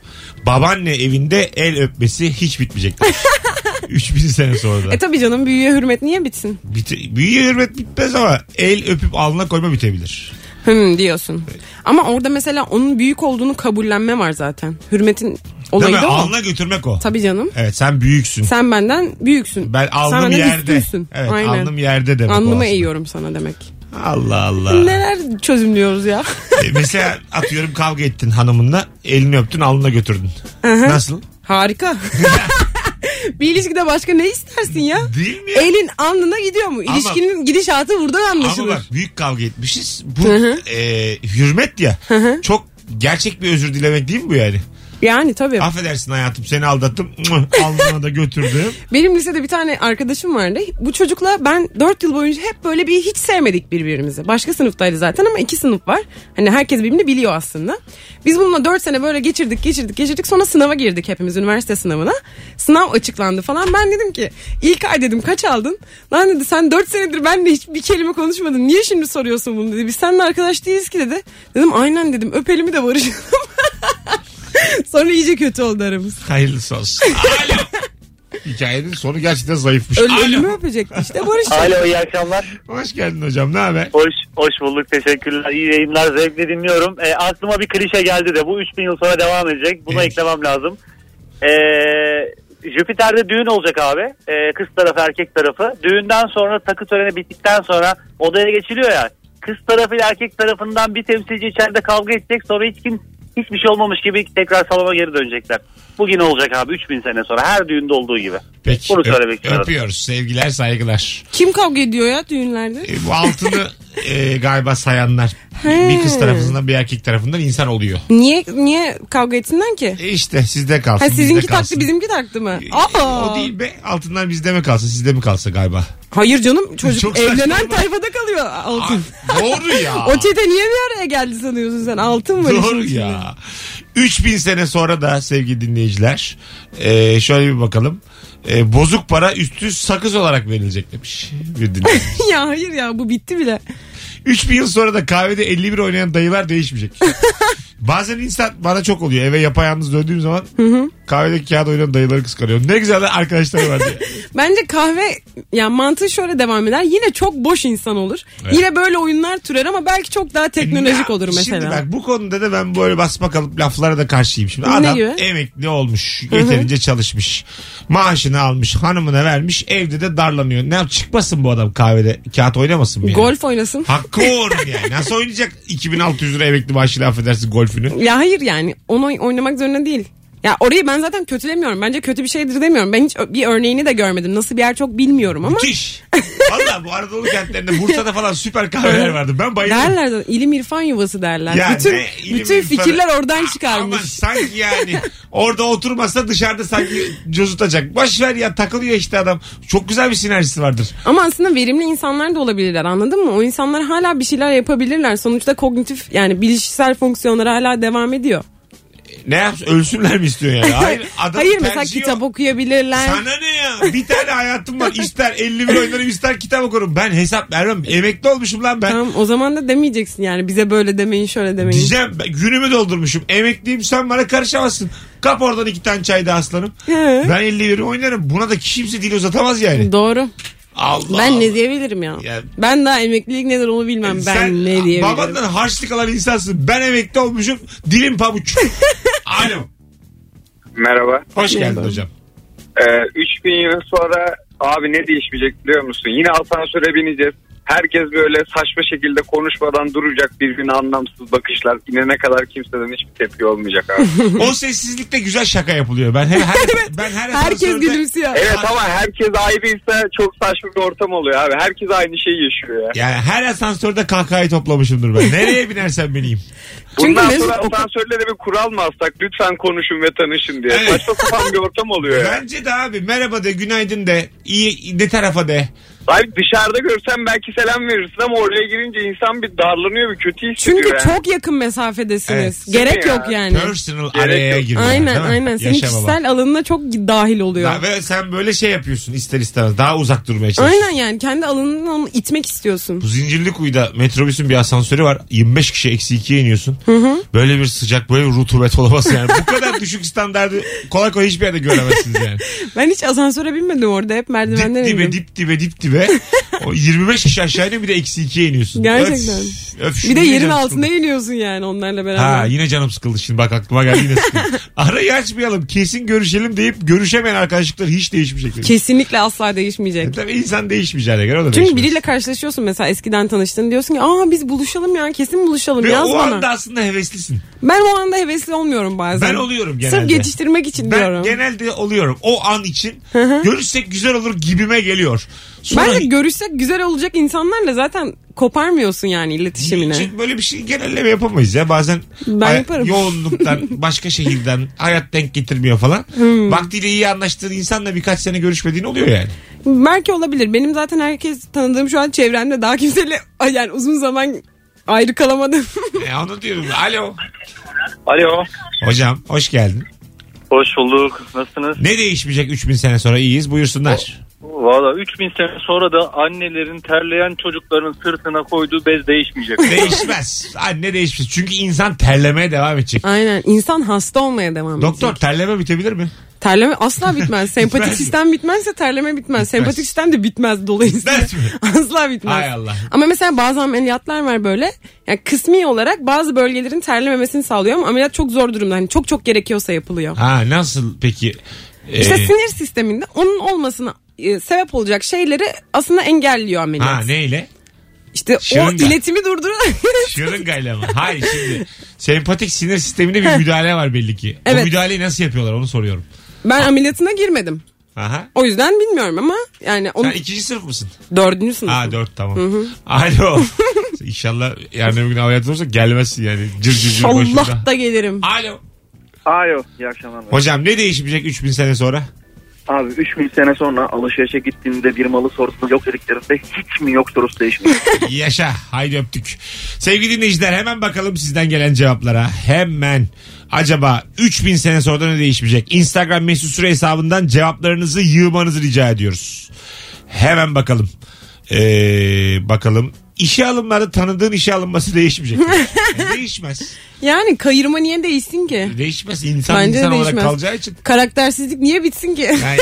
B: Babaanne evinde el öpmesi hiç bitmeyecek. 3000 sene sonra da.
C: E tabi canım büyüye hürmet niye bitsin?
B: Bit- büyüye hürmet bitmez ama el öpüp alnına koyma bitebilir.
C: Hım diyorsun. Ama orada mesela onun büyük olduğunu kabullenme var zaten. Hürmetin olayı
B: Değil mi?
C: da o.
B: Alnına götürmek o.
C: Tabii canım.
B: Evet sen büyüksün.
C: Sen benden büyüksün.
B: Ben
C: Sen
B: alnım
C: benden
B: yerde.
C: üstünsün.
B: Evet
C: Aynen.
B: alnım yerde demek o
C: Alnımı
B: aslında.
C: eğiyorum sana demek.
B: Allah Allah.
C: Neler çözümlüyoruz ya.
B: E, Mesela atıyorum kavga ettin hanımınla elini öptün alnına götürdün. Nasıl?
C: Harika. bir ilişkide başka ne istersin ya?
B: Değil mi? ya?
C: Elin alnına gidiyor mu?
B: Ama-
C: İlişkinin gidişatı
B: Ama
C: buradan anlaşılır.
B: bak büyük kavga etmişiz. Bu
C: Hı hı.
B: e, hürmet ya. Çok gerçek bir özür dilemek değil mi bu yani?
C: Yani tabii.
B: Affedersin hayatım seni aldattım. Alnına da götürdüm.
C: Benim lisede bir tane arkadaşım vardı. Bu çocukla ben 4 yıl boyunca hep böyle bir hiç sevmedik birbirimizi. Başka sınıftaydı zaten ama iki sınıf var. Hani herkes birbirini biliyor aslında. Biz bununla 4 sene böyle geçirdik geçirdik geçirdik. Sonra sınava girdik hepimiz üniversite sınavına. Sınav açıklandı falan. Ben dedim ki ilk ay dedim kaç aldın? Lan dedi sen 4 senedir benle hiçbir kelime konuşmadın. Niye şimdi soruyorsun bunu dedi. Biz seninle arkadaş değiliz ki dedi. Dedim aynen dedim öpelimi de barışalım. Sonra iyice kötü oldu aramız.
B: Hayırlısı olsun. Alo. Hikayenin sonu gerçekten zayıfmış.
C: Öl,
B: Alo.
C: ölümü öpecekti işte barıştık.
E: Alo iyi akşamlar.
B: Hoş geldin hocam ne haber?
E: Hoş, hoş bulduk teşekkürler. İyi yayınlar zevkle dinliyorum. E, aklıma bir klişe geldi de bu 3000 yıl sonra devam edecek. Buna
B: Neymiş?
E: eklemem lazım. E, Jüpiter'de düğün olacak abi. E, kız tarafı erkek tarafı. Düğünden sonra takı töreni bittikten sonra odaya geçiliyor ya. Kız tarafıyla erkek tarafından bir temsilci içeride kavga edecek. Sonra hiç kim hiçbir şey olmamış gibi tekrar salona geri dönecekler. Bugün olacak abi 3000 sene sonra her düğünde olduğu gibi.
B: Peki.
E: Bunu
B: öp-
E: söylemek istiyorum.
B: öpüyoruz. Sevgiler saygılar.
C: Kim kavga ediyor ya düğünlerde?
B: E, bu altını e, galiba sayanlar bir kız tarafından bir erkek tarafından insan oluyor.
C: Niye niye kavga etsinler ki?
B: E işte sizde kalsın.
C: Ha sizinki
B: bizde kalsın.
C: taktı bizimki taktı mı?
B: E,
C: Aa.
B: O değil be. Altından bizde mi kalsın sizde mi kalsa galiba.
C: Hayır canım çocuk
B: Çok
C: evlenen
B: saçma.
C: tayfada kalıyor altın.
B: Aa, doğru ya.
C: O çete niye bir araya geldi sanıyorsun sen? Altın mı?
B: Doğru ya. 3000 sene sonra da sevgili dinleyiciler e, şöyle bir bakalım. E, bozuk para üstü sakız olarak verilecek demiş bir dinleyici.
C: ya hayır ya bu bitti bile.
B: 3000 yıl sonra da kahvede 51 oynayan dayılar değişmeyecek. Bazen insan bana çok oluyor. Eve yapayalnız döndüğüm zaman kahvedeki kağıt oynayan dayıları kıskanıyorum. Ne güzel de arkadaşlar var diye.
C: Bence kahve yani mantığı şöyle devam eder. Yine çok boş insan olur.
B: Evet.
C: Yine böyle oyunlar türer ama belki çok daha teknolojik
B: Ya,
C: olur mesela.
B: Şimdi bak bu konuda da ben böyle basma kalıp laflara da karşıyım. Şimdi
C: Ne
B: adam
C: gibi?
B: emekli olmuş, yeterince çalışmış, maaşını almış, hanımına vermiş, evde de darlanıyor. Ne yap çıkmasın bu adam kahvede kağıt oynamasın mı yani?
C: Golf oynasın.
B: Hakkı uğruna yani. Nasıl oynayacak 2600 lira emekli maaşıyla affedersin golfünü?
C: Ya hayır yani onu oy- oynamak zorunda değil. Ya orayı ben zaten kötülemiyorum. Bence kötü bir şeydir demiyorum. Ben hiç ö- bir örneğini de görmedim. Nasıl bir yer çok bilmiyorum ama.
B: Müthiş. Valla bu Anadolu kentlerinde Bursa'da falan süper kahveler vardı. Ben bayıldım.
C: Derler zaten ilim irfan yuvası derler.
B: Ya
C: bütün
B: ne ilim
C: bütün
B: irfanı.
C: fikirler oradan
B: Ama
C: çıkarmış.
B: sanki yani orada oturmasa dışarıda sanki cozutacak. Boş ver ya takılıyor işte adam. Çok güzel bir sinerjisi vardır.
C: Ama aslında verimli insanlar da olabilirler anladın mı? O insanlar hala bir şeyler yapabilirler. Sonuçta kognitif yani bilişsel fonksiyonları hala devam ediyor.
B: Ne yapsın ölsünler mi istiyor yani? Hayır, adamın
C: Hayır mesela
B: tercihi o.
C: kitap okuyabilirler.
B: Sana ne ya? Bir tane hayatım var. İster 50 bin oynarım ister kitap okurum. Ben hesap vermem. Emekli olmuşum lan ben.
C: Tamam o zaman da demeyeceksin yani bize böyle demeyin şöyle demeyin.
B: Diyeceğim ben günümü doldurmuşum. Emekliyim sen bana karışamazsın. Kap oradan iki tane çay da aslanım.
C: He.
B: Ben 50 bin oynarım. Buna da kimse dil uzatamaz yani.
C: Doğru.
B: Allah
C: Ben
B: Allah.
C: ne diyebilirim ya?
B: Ya- E,
C: Ben daha emeklilik nedir onu bilmem. Ben
B: Sen
C: ne diyebilirim?
B: Babandan harçlık alan insansın. Ben emekli olmuşum. Dilim pabuç. Alo.
H: Merhaba.
B: Hoş geldin hocam.
H: Ee, 3000 yıl sonra abi ne değişmeyecek biliyor musun? Yine asansöre bineceğiz. Herkes böyle saçma şekilde konuşmadan duracak birbirine anlamsız bakışlar. İnene kadar kimseden hiçbir tepki olmayacak abi.
B: O sessizlikte güzel şaka yapılıyor. Ben her, her- ben her
C: Herkes
B: asansörde-
C: gülümsüyor.
H: evet ama herkes ayrıysa çok saçma bir ortam oluyor abi. Herkes aynı şeyi yaşıyor ya.
B: Yani her asansörde kahkahayı toplamışımdır ben. Nereye binersem bineyim.
C: Çünkü
H: Bundan
C: Mesut
H: sonra
C: oku-
H: asansörlere bir kural mı alsak? Lütfen konuşun ve tanışın diye.
B: Evet.
H: Saçma sapan bir ortam oluyor ya.
B: Bence de abi merhaba de günaydın de iyi ne tarafa de.
H: Abi dışarıda görsen belki selam verirsin ama oraya girince insan bir darlanıyor, bir kötü hissediyor
C: Çünkü
H: yani.
C: çok yakın mesafedesiniz.
B: Evet.
C: Gerek
H: Ya.
C: yok yani.
B: Personal
H: Gerek
B: araya
H: yok.
B: giriyor.
C: Aynen
B: değil mi?
C: aynen. Senin
B: Yaşa baba.
C: kişisel alanına çok dahil oluyor.
B: Ya ve sen böyle şey yapıyorsun ister istemez. Daha uzak durmaya çalışıyorsun.
C: Aynen yani kendi alanından onu itmek istiyorsun.
B: Bu zincirli kuyuda metrobüsün bir asansörü var. 25 kişi eksi 2'ye iniyorsun. Böyle bir sıcak böyle bir rutubet olamaz yani. Bu kadar düşük standardı kolay kolay hiçbir yerde göremezsiniz yani.
C: Ben hiç asansöre binmedim orada hep merdivenden
B: dip dibe
C: indim.
B: dip dibe dip dibe. O 25 kişi aşağı iniyor bir de eksi 2'ye iniyorsun.
C: Gerçekten.
B: Öf, öf,
C: Bir
B: şimdi
C: de
B: yine
C: yerin
B: canım
C: altında
B: sıkıldı.
C: iniyorsun yani onlarla beraber.
B: Ha yine canım sıkıldı şimdi bak aklıma geldi yine sıkıldı. Arayı açmayalım kesin görüşelim deyip görüşemeyen arkadaşlıklar hiç değişmeyecek. Kesin.
C: Kesinlikle asla değişmeyecek.
B: Tabii insan değişmeyeceğine göre o da
C: Çünkü
B: değişmez.
C: biriyle karşılaşıyorsun mesela eskiden tanıştın diyorsun ki aa biz buluşalım ya kesin buluşalım
B: Ve
C: yaz
B: o
C: bana.
B: anda aslında heveslisin.
C: Ben o anda hevesli olmuyorum bazen.
B: Ben oluyorum genelde.
C: Sırf geçiştirmek için
B: Ben
C: diyorum.
B: genelde oluyorum. O an için görüşsek güzel olur gibime geliyor. Sonra
C: Bence görüşsek güzel olacak insanlarla zaten koparmıyorsun yani iletişimini.
B: Çünkü böyle bir şey genelleme yapamayız ya. Bazen
C: Ben
B: hay-
C: yaparım.
B: yoğunluktan, başka şehirden hayat denk getirmiyor falan.
C: Hmm.
B: Vaktiyle iyi anlaştığın insanla birkaç sene görüşmediğin oluyor yani.
C: Belki olabilir. Benim zaten herkes tanıdığım şu an çevremde daha kimseyle ay yani uzun zaman ayrı kalamadım.
B: E, onu diyorum. Alo.
G: Alo.
B: Hocam hoş geldin.
G: Hoş bulduk. Nasılsınız?
B: Ne değişmeyecek 3000 sene sonra iyiyiz buyursunlar.
G: Valla 3000 sene sonra da annelerin terleyen çocukların sırtına koyduğu bez değişmeyecek.
B: Değişmez. Anne değişmez. Çünkü insan terlemeye devam edecek.
C: Aynen. İnsan hasta olmaya devam edecek.
B: Doktor terleme bitebilir mi?
C: Terleme asla bitmez. Sempatik
B: Bitmez mi?
C: sistem bitmezse terleme bitmez. Sempatik sistem de bitmez dolayısıyla.
B: Bitmez mi?
C: asla bitmez.
B: Hay Allah.
C: Ama mesela bazı ameliyatlar var böyle. Yani kısmi olarak bazı bölgelerin terlememesini sağlıyor ama ameliyat çok zor durumda. Hani çok çok gerekiyorsa yapılıyor.
B: Ha nasıl peki?
C: İşte
B: Ee,
C: sinir sisteminde onun olmasına e, sebep olacak şeyleri aslında engelliyor ameliyat.
B: ha neyle?
C: İşte
B: Şırınga.
C: o iletimi durduran
B: Şırıngayla mı? Hayır şimdi. Sempatik sinir sisteminde bir müdahale var belli ki. O
C: Evet.
B: müdahaleyi nasıl yapıyorlar onu soruyorum.
C: Ben ameliyatına girmedim.
B: Aha.
C: O yüzden bilmiyorum ama yani onu
B: Sen ikinci sınıf mısın?
C: dördüncü sınıf.
B: Ha dört tamam. Alo. İnşallah yarın öbür gün ameliyat olursa gelmezsin yani. Cır cır cır
C: Allah
B: başında.
C: da gelirim.
B: Alo.
E: Alo iyi akşamlar.
B: Hocam ne değişmeyecek 3000 sene sonra?
E: Abi 3000 sene sonra alışverişe gittiğimde bir malı sorusunu yok dediklerinde hiç mi yok sorusu değişmiyor.
B: Yaşa. Haydi öptük. Sevgili dinleyiciler hemen bakalım sizden gelen cevaplara. Hemen. Acaba 3000 sene sonra ne değişmeyecek? Instagram mesut süre hesabından cevaplarınızı yığmanızı rica ediyoruz. Hemen bakalım. Ee, bakalım. İşe alımlarda tanıdığın işe alınması değişmeyecek. mi? E, değişmez.
C: Yani kayırma niye değişsin ki?
B: Değişmez. İnsan
C: Bence
B: insan olarak
C: değişmez.
B: kalacağı için.
C: Karaktersizlik niye bitsin ki?
B: Yani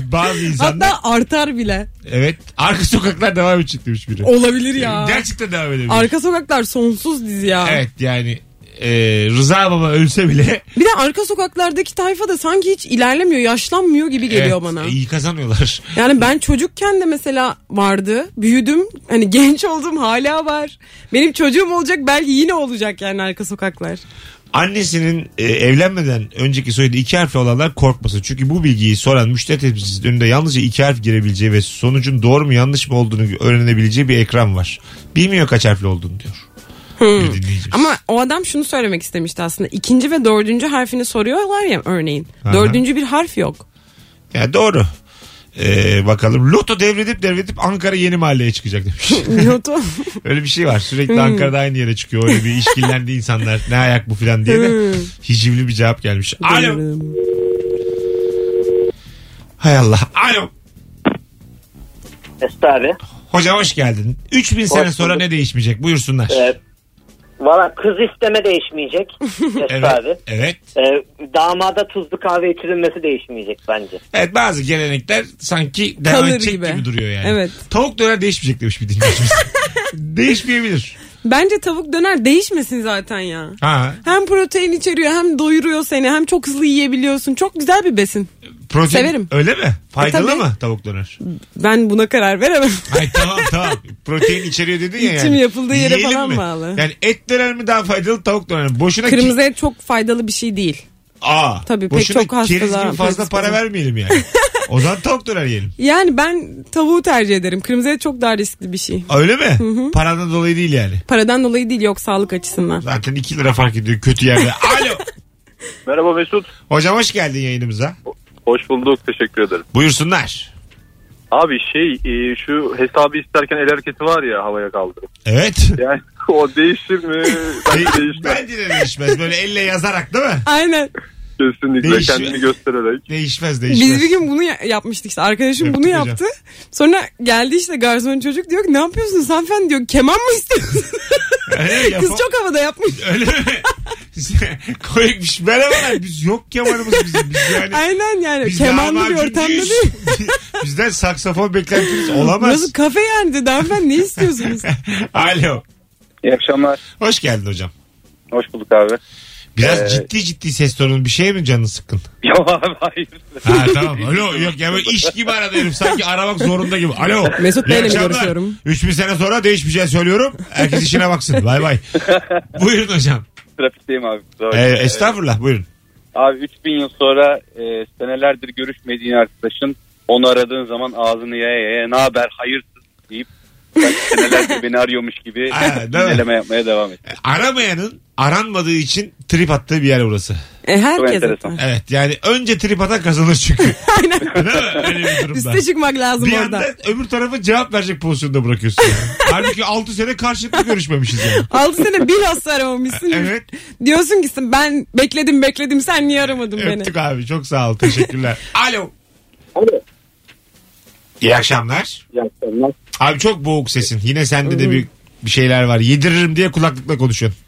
B: e, bazı insanlar
C: Hatta artar bile.
B: evet arka sokaklar devam edecek demiş biri.
C: Olabilir ya.
B: Gerçekten devam edebilir.
C: Arka sokaklar sonsuz dizi ya.
B: Evet yani e, Rıza Baba ölse bile
C: Bir de arka sokaklardaki tayfa da sanki hiç ilerlemiyor, yaşlanmıyor gibi
B: Evet,
C: geliyor bana.
B: iyi kazanıyorlar.
C: Yani ben çocukken de mesela vardı. Büyüdüm. Hani genç oldum hala var. Benim çocuğum olacak belki yine olacak yani arka sokaklar.
B: Annesinin e, evlenmeden önceki soyadı iki harfli olanlar korkmasın. Çünkü bu bilgiyi soran müşteri temsilcisinin önünde yalnızca iki harf girebileceği ve sonucun doğru mu yanlış mı olduğunu öğrenebileceği bir ekran var. Bilmiyor kaç harfli olduğunu diyor. Bir dinleyicimiz.
C: Hmm. Ama o adam şunu söylemek istemişti aslında. İkinci ve dördüncü harfini soruyorlar ya örneğin.
B: Aha.
C: Dördüncü bir harf yok.
B: Ya doğru. Ee, bakalım. Loto devredip devredip Ankara yeni mahalleye çıkacak demiş.
C: Yotu.
B: Öyle bir şey var.
C: Hmm.
B: Sürekli Ankara'da aynı yere çıkıyor. Öyle bir işkillendi insanlar. Ne ayak bu filan diye
C: Hmm.
B: de hicivli bir cevap gelmiş. Alo. Hay Allah. Alo.
I: Mesut abi.
B: Hocam hoş geldin. 3000 sene
I: bulduk.
B: sonra ne değişmeyecek? Buyursunlar.
I: Ee, Valla kız isteme değişmeyecek Mesut abi.
B: Evet. Evet.
I: Ee, damada tuzlu kahve içirilmesi değişmeyecek bence.
B: Evet bazı gelenekler sanki devam
C: Kalır
B: edecek gibi.
C: gibi.
B: duruyor yani.
C: Evet.
B: Tavuk döner değişmeyecek demiş bir dinleyicimiz. Değişmeyebilir.
C: Bence tavuk döner değişmesin zaten ya.
B: Ha.
C: Hem protein içeriyor hem doyuruyor seni hem çok hızlı yiyebiliyorsun. Çok güzel bir besin.
B: Protein,
C: Severim. E,
B: Öyle mi? Faydalı
C: tabii.
B: mı tavuk döner?
C: Ben buna karar veremem.
B: Ay tamam tamam. Protein içeriyor dedin ya yani.
C: İçim yapıldığı yere
B: Yiyelim
C: falan
B: mi?
C: bağlı.
B: Yani et döner mi daha faydalı tavuk döner mi? Boşuna ki-
C: Kırmızı et çok faydalı bir şey değil.
B: Aa,
C: Tabii, pek
B: boşuna
C: çok hastalığa-
B: keriz gibi fazla
C: pek-
B: para vermeyelim yani. o zaman tavuk döner yiyelim.
C: Yani ben tavuğu tercih ederim. Kırmızı et çok daha riskli bir şey.
B: Öyle mi? Paradan dolayı değil yani.
C: Paradan dolayı değil yok sağlık açısından.
B: Zaten 2 lira fark ediyor kötü yerde. Alo.
G: Merhaba Mesut.
B: Hocam hoş geldin yayınımıza.
G: Hoş bulduk. Teşekkür ederim.
B: Buyursunlar.
G: Abi şey e, şu hesabı isterken el hareketi var ya havaya kaldırıp.
B: Evet.
G: Yani o değişir mi? Bence değişmez.
B: Bence de değişmez. Böyle elle yazarak değil mi?
C: Aynen.
G: Kesinlikle
B: Değişmez.
G: kendini göstererek.
B: Değişmez
C: Biz
B: değişmez.
C: bir gün bunu ya- yapmıştık işte. Arkadaşım
B: Yaptık
C: bunu
B: hocam.
C: yaptı. Sonra geldi işte garson çocuk diyor ki ne yapıyorsunuz hanımefendi diyor. Keman mı istiyorsunuz?
B: Öyle mi?
C: Kız
B: Yapam-
C: çok havada yapmış.
B: Öyle mi? Koyukmuş. Merhabalar. Biz yok kemanımız bizim. Biz yani...
C: Aynen yani.
B: Biz
C: Kemanlı bir
B: lahmacun
C: ortamda
B: değiliz.
C: değil.
B: Bizden saksafon beklentiniz olamaz.
C: Burası kafe yani dedi hanımefendi ne istiyorsunuz?
B: Alo.
J: İyi akşamlar.
B: Hoş geldin hocam.
J: Hoş bulduk abi.
B: Biraz
J: Ee,
B: ciddi ciddi ses tonun bir şey mi canın sıkkın?
J: Ya abi hayır.
B: Ha tamam alo yok ya böyle iş gibi aradı herif sanki aramak zorunda gibi. Alo.
C: Mesut
B: İyi
C: Bey'le mi
B: akşamlar.
C: görüşüyorum?
B: 3000 sene sonra değişmeyeceğini söylüyorum. Herkes işine baksın. Bay bay. buyurun hocam.
J: Trafikteyim abi. kusura bakma.
B: Ee, estağfurullah buyurun.
J: Abi 3000 yıl sonra e, senelerdir görüşmediğin arkadaşın onu aradığın zaman ağzını yaya yaya ne haber hayırsız deyip sanki senelerdir beni arıyormuş gibi
B: Ha, değil mi?
J: dinleme yapmaya devam et.
B: Aramayanın aranmadığı için trip attığı bir yer burası.
C: E, herkes
J: enteresan.
C: atar.
B: Evet yani önce trip atan kazanır çünkü. Değil mi? Öyle bir durumda.
C: Üste çıkmak lazım
B: bir
C: orada.
B: anda öbür tarafı cevap verecek pozisyonda bırakıyorsun. Yani. Halbuki 6 sene karşılıklı görüşmemişiz yani.
C: 6 sene bilhassa aramamışsın.
B: Evet.
C: Diyorsun ki sen ben bekledim bekledim sen niye aramadın beni?
B: Öptük abi çok sağ ol teşekkürler. Alo. Alo. İyi akşamlar.
I: İyi akşamlar.
B: Abi çok boğuk sesin. Yine sende de bir bir şeyler var. Yediririm diye kulaklıkla konuşuyorsun.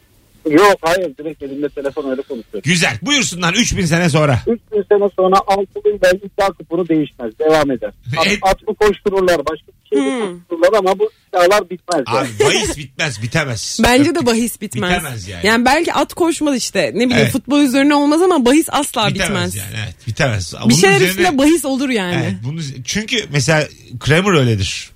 I: Yok hayır direkt elimde telefon öyle konuşuyorum.
B: Güzel. Buyursunlar 3000 sene sonra.
I: 3000 sene sonra altının ve iddia kuponu değişmez. Devam eder. At,
B: Evet.
I: at mı koştururlar başka bir şey de koştururlar ama bu iddialar bitmez.
B: Abi bahis bitmez bitemez.
C: Bence
B: Öptük.
C: de bahis bitmez.
B: Bitemez yani.
C: belki at koşmadı işte. Ne bileyim
B: Evet.
C: futbol üzerine olmaz ama bahis asla bitmez.
B: yani evet bitemez.
C: Bir şey şeyler üstüne bahis olur yani.
B: Evet, bunu, çünkü mesela Kramer öyledir.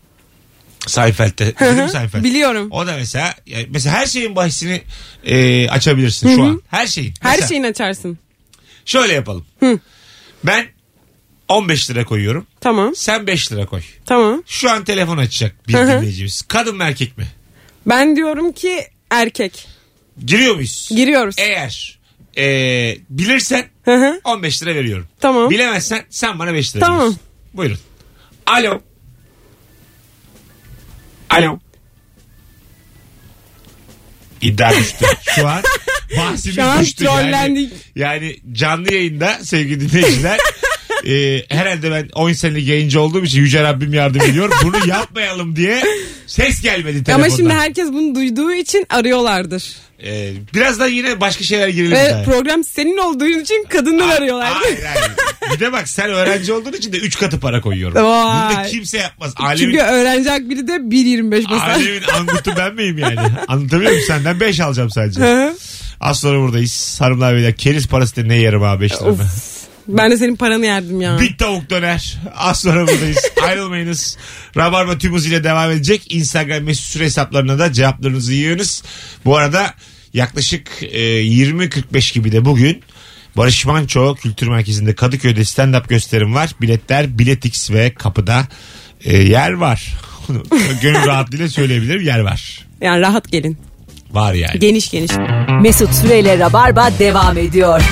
B: Seinfeld'de.
C: Hı hı,
B: Bilir mi Seinfeld?
C: Biliyorum.
B: O da mesela yani mesela her şeyin bahisini e, açabilirsin şu an. Her şeyin.
C: Her
B: Mesela
C: şeyini açarsın.
B: Şöyle yapalım. Ben 15 lira koyuyorum.
C: Tamam.
B: Sen 5 lira koy.
C: Tamam.
B: Şu an telefon açacak bir
C: Hı hı.
B: dinleyicimiz. Kadın mı erkek mi?
C: Ben diyorum ki erkek.
B: Giriyor muyuz?
C: Giriyoruz.
B: Eğer e, bilirsen
C: Hı hı.
B: 15 lira veriyorum.
C: Tamam.
B: Bilemezsen sen bana 5 lira
C: Tamam.
B: veriyorsun. Buyurun. Alo. Alo. İddia düştü. Şu an bahsimiz
C: Şu an
B: düştü. Yani,
C: trollendik.
B: yani canlı yayında sevgili dinleyiciler e, herhalde ben 10 senelik yayıncı olduğum için Yüce Rabbim yardım ediyor. Bunu yapmayalım diye ses gelmedi telefondan.
C: Ama şimdi herkes bunu duyduğu için arıyorlardır.
B: E, birazdan yine başka şeyler girelim.
C: Ve
B: daha.
C: program senin olduğu için kadınlar arıyorlar.
B: Hayır hayır. Bir de bak sen öğrenci olduğun için de 3 katı para koyuyorum.
C: Vay.
B: Bunu da kimse yapmaz. Alemin,
C: Çünkü öğrenci hak biri de 1.25 mesela.
B: alemin angutu ben miyim yani? Anlatabiliyor muyum? Senden 5 alacağım sadece.
C: Hı hı.
B: Az sonra buradayız. Hanımlar beyler keriz parası da ne yerim abi 5 lirada.
C: ben de senin paranı yerdim ya.
B: Bir tavuk döner. Az sonra buradayız. Ayrılmayınız. Rabarba tüm ile devam edecek. Instagram mesut süre hesaplarına da cevaplarınızı yığınız. Bu arada yaklaşık e, 20.45 gibi de bugün Barış Manço Kültür Merkezi'nde Kadıköy'de stand-up gösterim var. Biletler Biletix ve kapıda e, yer var. Bunu Gönül rahatlığıyla söyleyebilirim yer var.
C: Yani rahat gelin.
B: Var yani.
C: Geniş geniş.
A: Mesut Süreyle Rabarba devam ediyor.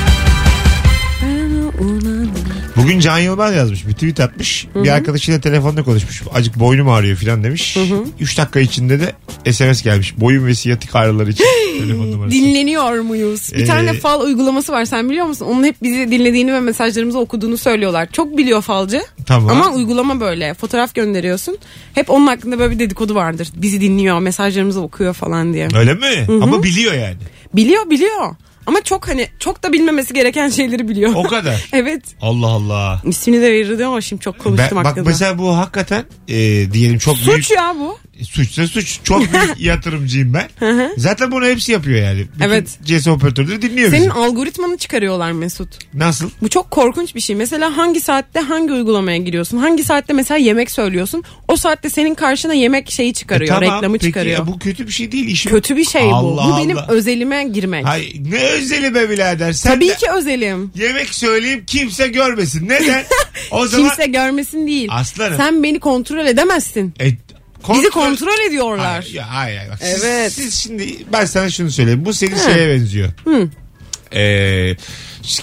B: Bugün Can Yılmaz yazmış. Bir tweet atmış. Bir arkadaşıyla telefonda konuşmuş. Acık boynum ağrıyor falan demiş. 3 dakika içinde de SMS gelmiş. Boyun ve siyatik ağrıları için telefon numarası.
C: Dinleniyor muyuz? Bir
B: Ee,
C: tane fal uygulaması var sen biliyor musun? Onun hep bizi dinlediğini ve mesajlarımızı okuduğunu söylüyorlar. Çok biliyor falcı.
B: Tamam.
C: Ama uygulama böyle. Fotoğraf gönderiyorsun. Hep onun hakkında böyle bir dedikodu vardır. Bizi dinliyor, mesajlarımızı okuyor falan diye.
B: Öyle mi? Ama biliyor yani.
C: Biliyor biliyor. Ama çok hani çok da bilmemesi gereken şeyleri biliyor.
B: O kadar.
C: evet.
B: Allah Allah.
C: İsmini de verirdi ama şimdi çok konuştum
B: Ben- bak
C: hakkında.
B: mesela bu hakikaten e, diyelim çok büyük
C: Suç ya bu.
B: suçsa suç. Çok büyük yatırımcıyım ben. Zaten bunu hepsi yapıyor yani. Bütün
C: Evet.
B: CS operatörleri dinliyor
C: Senin
B: bizi.
C: algoritmanı çıkarıyorlar Mesut.
B: Nasıl? E,
C: Bu çok korkunç bir şey. Mesela hangi saatte hangi uygulamaya giriyorsun? Hangi saatte mesela yemek söylüyorsun? O saatte senin karşına yemek şeyi çıkarıyor,
B: E tamam,
C: reklamı
B: peki,
C: çıkarıyor.
B: ya bu kötü bir şey değil. işim.
C: Kötü bir şey bu.
B: Allah
C: Bu benim
B: Allah.
C: özelime girmek.
B: Hay, ne özeli be birader. Sen
C: Tabii
B: de
C: ki özelim.
B: yemek söyleyeyim kimse görmesin. Neden? O zaman
C: Kimse görmesin değil.
B: Aslanım.
C: Sen beni kontrol edemezsin.
B: E, kontrol-
C: Bizi kontrol ediyorlar.
B: Hayır, ya, hayır, hayır. Bak, siz-
C: Evet.
B: Siz, şimdi ben sana şunu söyleyeyim. Bu senin şeye benziyor. Ee,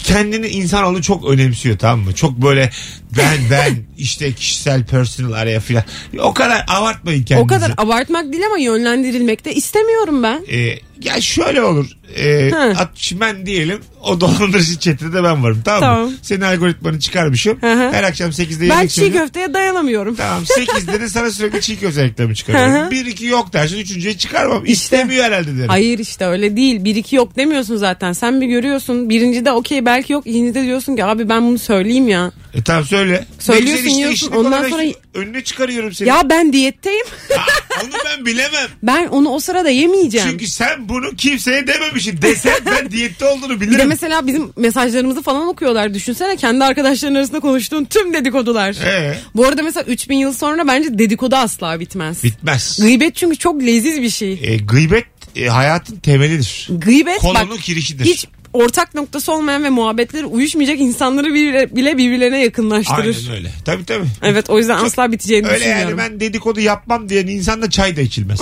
B: kendini insanoğlu çok önemsiyor tamam mı? Çok böyle ben ben işte kişisel personal araya filan. O kadar abartmayın kendinizi.
C: O kadar abartmak değil ama yönlendirilmek de istemiyorum ben.
B: Ee, ya şöyle olur. Ee,
C: Hı.
B: at, şimdi ben diyelim o dolandırıcı çetede ben varım tamam,
C: Tamam.
B: mı? Senin algoritmanı çıkarmışım.
C: Hı hı.
B: Her akşam 8'de
C: Ben
B: yemek
C: çiğ
B: söylüyorum.
C: köfteye dayanamıyorum.
B: Tamam 8'de de sana sürekli çiğ köfte reklamı
C: Hı
B: çıkarıyorum.
C: hı.
B: Bir iki yok dersin üçüncüye çıkarmam. İstemiyor herhalde derim.
C: Hayır işte öyle değil. Bir iki yok demiyorsun zaten. Sen bir görüyorsun. Birinci de okey belki yok. İkinci de diyorsun ki abi ben bunu söyleyeyim ya.
B: E tamam söyle.
C: Söylüyorsun,
B: Ne güzel işte,
C: yiyorsun.
B: işini
C: Ondan
B: kolay-
C: sonra-
B: önüne çıkarıyorum seni.
C: Ya ben diyetteyim.
B: Aa, onu ben bilemem.
C: Ben onu o sırada yemeyeceğim.
B: Çünkü sen bunu kimseye dememişsin. Desen ben diyette olduğunu
C: bir de
B: bilirim.
C: mesela bizim mesajlarımızı falan okuyorlar. Düşünsene kendi arkadaşların arasında konuştuğun tüm dedikodular.
B: Ee?
C: Bu arada mesela 3000 yıl sonra bence dedikodu asla bitmez.
B: Bitmez.
C: Gıybet çünkü çok leziz bir şey.
B: E, gıybet e, hayatın temelidir.
C: Gıybet
B: Kolonu
C: bak
B: kirişidir.
C: hiç ortak noktası olmayan ve muhabbetleri uyuşmayacak insanları bile, bile birbirlerine yakınlaştırır.
B: Aynen öyle. Tabii tabii.
C: Evet o yüzden
B: Çok-
C: asla biteceğini
B: Öyle
C: düşünmüyorum.
B: yani ben dedikodu yapmam diyen insanda çay da içilmez.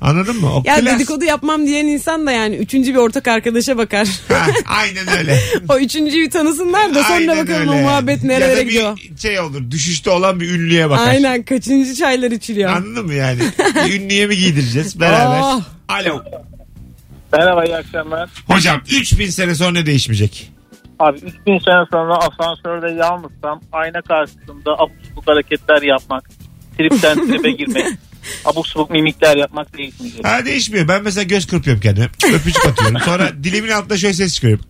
B: Anladın mı? O
C: Ya
B: klas-
C: dedikodu yapmam diyen insan da yani üçüncü bir ortak arkadaşa bakar.
B: Ha, aynen öyle.
C: o üçüncüyü tanısınlar da sonra
B: Aynen
C: bakalım
B: öyle.
C: o muhabbet
B: ya
C: nerelere
B: da bir
C: gidiyor.
B: şey olur. Düşüşte olan bir ünlüye bakar.
C: Aynen kaçıncı çaylar içiliyor.
B: Anladın mı yani? Bir Ünlüye mi giydireceğiz beraber?
C: Oh.
B: Alo.
E: Merhaba iyi akşamlar.
B: Hocam 3000 sene sonra ne değişmeyecek?
E: Abi 3000 sene sonra asansörde yalnızsam ayna karşısında abuk subuk hareketler yapmak, tripten tribe girmek, abuk subuk mimikler yapmak değişmeyecek.
B: Ha değişmiyor. Ben mesela göz kırpıyorum kendime. Öpücük atıyorum. Sonra dilimin altında şöyle ses çıkıyorum.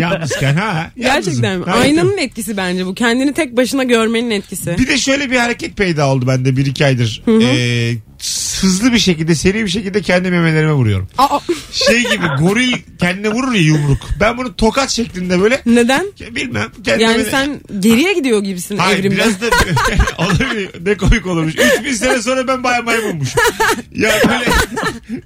B: Yalnızken ha. yalnızım.
C: Gerçekten mi?
B: Ha,
C: Aynanın etkisi bence bu. Kendini tek başına görmenin etkisi.
B: Bir de şöyle bir hareket peyda oldu bende bir iki aydır. Ee, hızlı bir şekilde seri bir şekilde kendi memelerime vuruyorum.
C: Aa,
B: Şey gibi goril kendine vurur ya yumruk. Ben bunu tokat şeklinde böyle
C: neden?
B: bilmem. Kendime
C: Yani sen geriye gidiyor gibisin
B: E, Hayır
C: evrimde.
B: biraz da olabilir. Ne komik olurmuş. 3000 sene sonra ben bayağı maymunmuşum. Ya böyle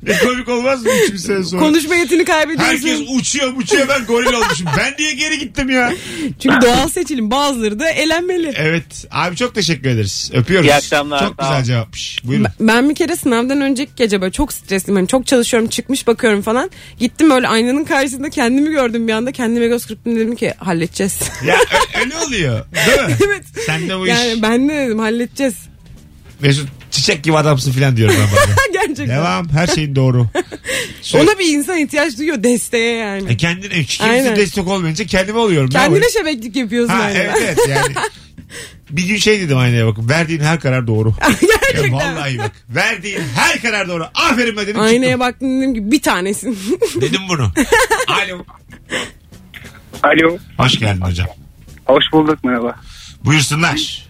B: ne komik olmaz mı 3000 sene sonra?
C: Konuşma yetini kaybediyorsun.
B: Herkes uçuyor uçuyor ben goril olmuşum. Ben diye geri gittim ya.
C: Çünkü doğal seçilim bazıları da elenmeli.
B: Evet abi çok teşekkür ederiz. Öpüyoruz.
E: İyi akşamlar,
B: Çok
E: sağ
B: güzel
E: ol.
B: cevapmış. Buyurun.
C: Ben bir kere sınavdan önceki gece böyle çok stresliyim. Hani çok çalışıyorum çıkmış bakıyorum falan. Gittim böyle aynanın karşısında kendimi gördüm bir anda. Kendime göz kırptım dedim ki halledeceğiz.
B: Ya ö- öyle oluyor. Değil mi?
C: Evet.
B: Sen de bu iş.
C: yani ben de dedim halledeceğiz.
B: Mesut çiçek gibi adamsın falan diyorum ben bana.
C: Gerçekten.
B: Devam. Her şeyin doğru. Sö-
C: Ona bir insan ihtiyaç duyuyor desteğe yani.
B: Şey- E kendine, kimse
C: Aynen.
B: destek olmayınca kendime oluyorum. Ne yapayım?
C: Kendine şebeklik yapıyorsun
B: Ha
C: aynada.
B: evet evet yani. Bir gün şey dedim aynaya bakıp verdiğin her karar doğru.
C: Gerçekten.
B: Ya vallahi bak verdiğin her karar doğru. Aferin be dedim
C: Aynaya baktım dedim ki bir tanesin.
B: çıktım. Dedim bunu. Alo.
D: Alo.
B: Hoş geldin hocam.
D: Hoş bulduk merhaba.
B: Buyursunlar.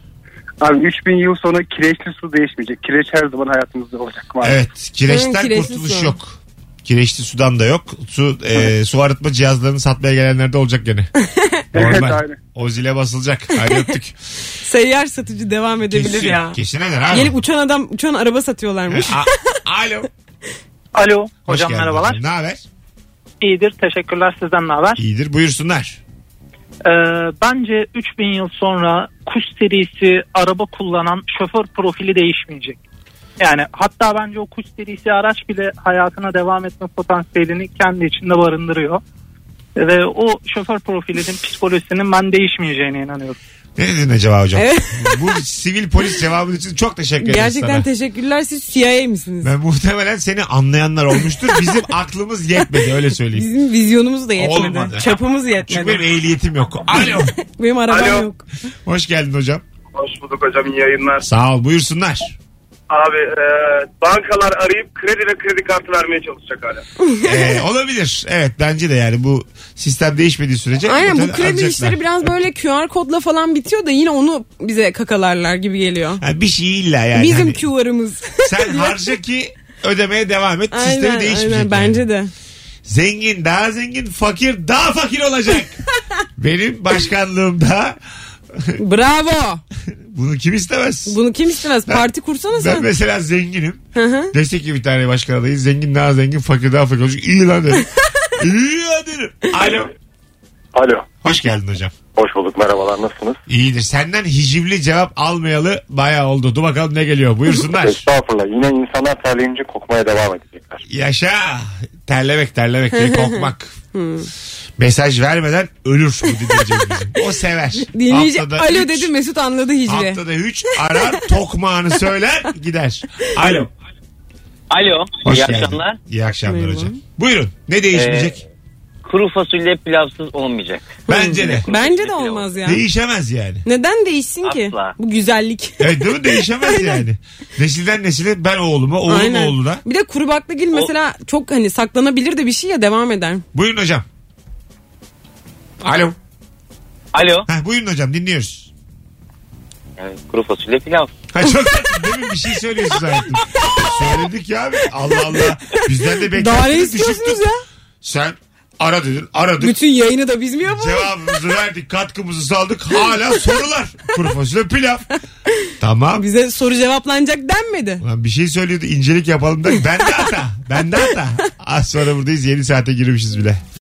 D: Abi 3000 yıl sonra kireçli su değişmeyecek. Kireç her zaman hayatımızda olacak. Var.
B: Evet kireçten
C: Hı, kireçli
B: kurtuluş
C: su.
B: yok. Kireçli sudan da yok. Su e, su arıtma cihazlarını satmaya gelenler de olacak gene.
D: Evet,
B: Normal.
D: aynen.
B: o zile basılacak. Haydi öptük.
C: Seyyar satıcı devam edebilir
B: Kesin,
C: ya.
B: kesin eder abi.
C: Gelip uçan adam uçan araba satıyorlarmış.
B: A- Alo.
E: Alo
B: Hoş
E: hocam
B: geldin
E: merhabalar.
B: hocam. Ne haber?
E: İyidir teşekkürler sizden ne haber?
B: İyidir buyursunlar.
E: Ee, bence 3000 yıl sonra kuş serisi araba kullanan şoför profili değişmeyecek. Yani hatta bence o kuş serisi araç bile hayatına devam etme potansiyelini kendi içinde barındırıyor. Ve o şoför profilinin psikolojisinin ben değişmeyeceğine inanıyorum.
B: Ne dedin acaba hocam?
C: Evet.
B: Bu sivil polis cevabın için çok teşekkür ederiz
C: Gerçekten
B: sana.
C: teşekkürler siz CIA misiniz?
B: Ben muhtemelen seni anlayanlar olmuştur. Bizim aklımız yetmedi öyle söyleyeyim.
C: Bizim vizyonumuz da yetmedi.
B: Olmadı.
C: Çapımız
B: Çünkü
C: yetmedi.
B: benim ehliyetim yok. Alo.
C: Benim arabam
D: Alo.
C: yok.
B: Hoş geldin hocam.
D: Hoş bulduk hocam iyi yayınlar.
B: Sağ ol buyursunlar.
D: Abi e, bankalar arayıp kredi ve kredi kartı vermeye çalışacak hala.
B: Ee, olabilir. Evet bence de yani bu sistem değişmediği sürece.
C: Aynen bu
B: zaten
C: kredi
B: alacaklar.
C: işleri biraz böyle QR kodla falan bitiyor da yine onu bize kakalarlar gibi geliyor.
B: Ha, bir şey illa yani.
C: Bizim
B: Hani
C: QR'ımız.
B: sen harca ki ödemeye devam et. Sistemi
C: aynen
B: değişmeyecek.
C: aynen bence de.
B: Zengin daha zengin, fakir daha fakir olacak. Benim başkanlığımda
C: Bravo.
B: bunu kim istemez?
C: Bunu kim istemez? Parti kursana
B: Ben
C: sen.
B: mesela zenginim.
C: Hı hı.
B: Desek ki bir tane başkan adayı zengin daha zengin fakir daha fakir olacak. İyi lan derim. İyi lan derim. Alo.
K: Alo.
B: Hoş geldin hocam.
K: Hoş bulduk merhabalar nasılsınız?
B: İyidir. Senden hicivli cevap almayalı bayağı oldu. Dur bakalım ne geliyor. Buyursunlar.
K: Estağfurullah yine insanlar terleyince kokmaya devam edecekler.
B: Yaşa. Terlemek terlemek değil kokmak.
C: Hmm.
B: Mesaj vermeden ölür bu dinleyicimiz bizim. O sever.
C: Dinleyici
B: Haftada
C: alo
B: üç-
C: dedi Mesut anladı hicri.
B: Haftada 3 arar tokmağını söyler gider. Alo.
L: Alo.
B: Hoş
L: iyi
B: geldin.
L: akşamlar.
B: İyi akşamlar hocam. Buyurun. Ne değişmeyecek?
L: Kuru fasulye pilavsız olmayacak.
B: Bence de.
C: Bence de olmaz ya.
B: Değişemez yani.
C: Neden değişsin ki? Bu güzellik.
B: Evet değil mi? Değişemez yani. Nesilden nesile ben oğluma, oğlum
C: Aynen.
B: oğluna.
C: Bir de kuru baklagil mesela çok hani saklanabilir de bir şey ya devam eder.
B: Buyurun hocam. Alo.
L: Alo.
B: Heh, buyurun hocam dinliyoruz.
L: Evet, kuru fasulye pilav.
B: Ha, çok tatlı. Demin bir şey söylüyorsun zannettim. Söyledik ya abi. Allah Allah. Bizden de
C: Daha ne
B: beklentiniz
C: istiyorsunuz ya?
B: Sen ara dedin aradık.
C: Bütün yayını da biz mi yapalım?
B: Cevabımızı verdik katkımızı saldık hala sorular. Kuru fasulye pilav. Tamam.
C: Bize soru cevaplanacak denmedi.
B: Ulan bir şey söylüyordu incelik yapalım da ben de hata. Ben de hata. Az sonra buradayız yeni saate girmişiz bile.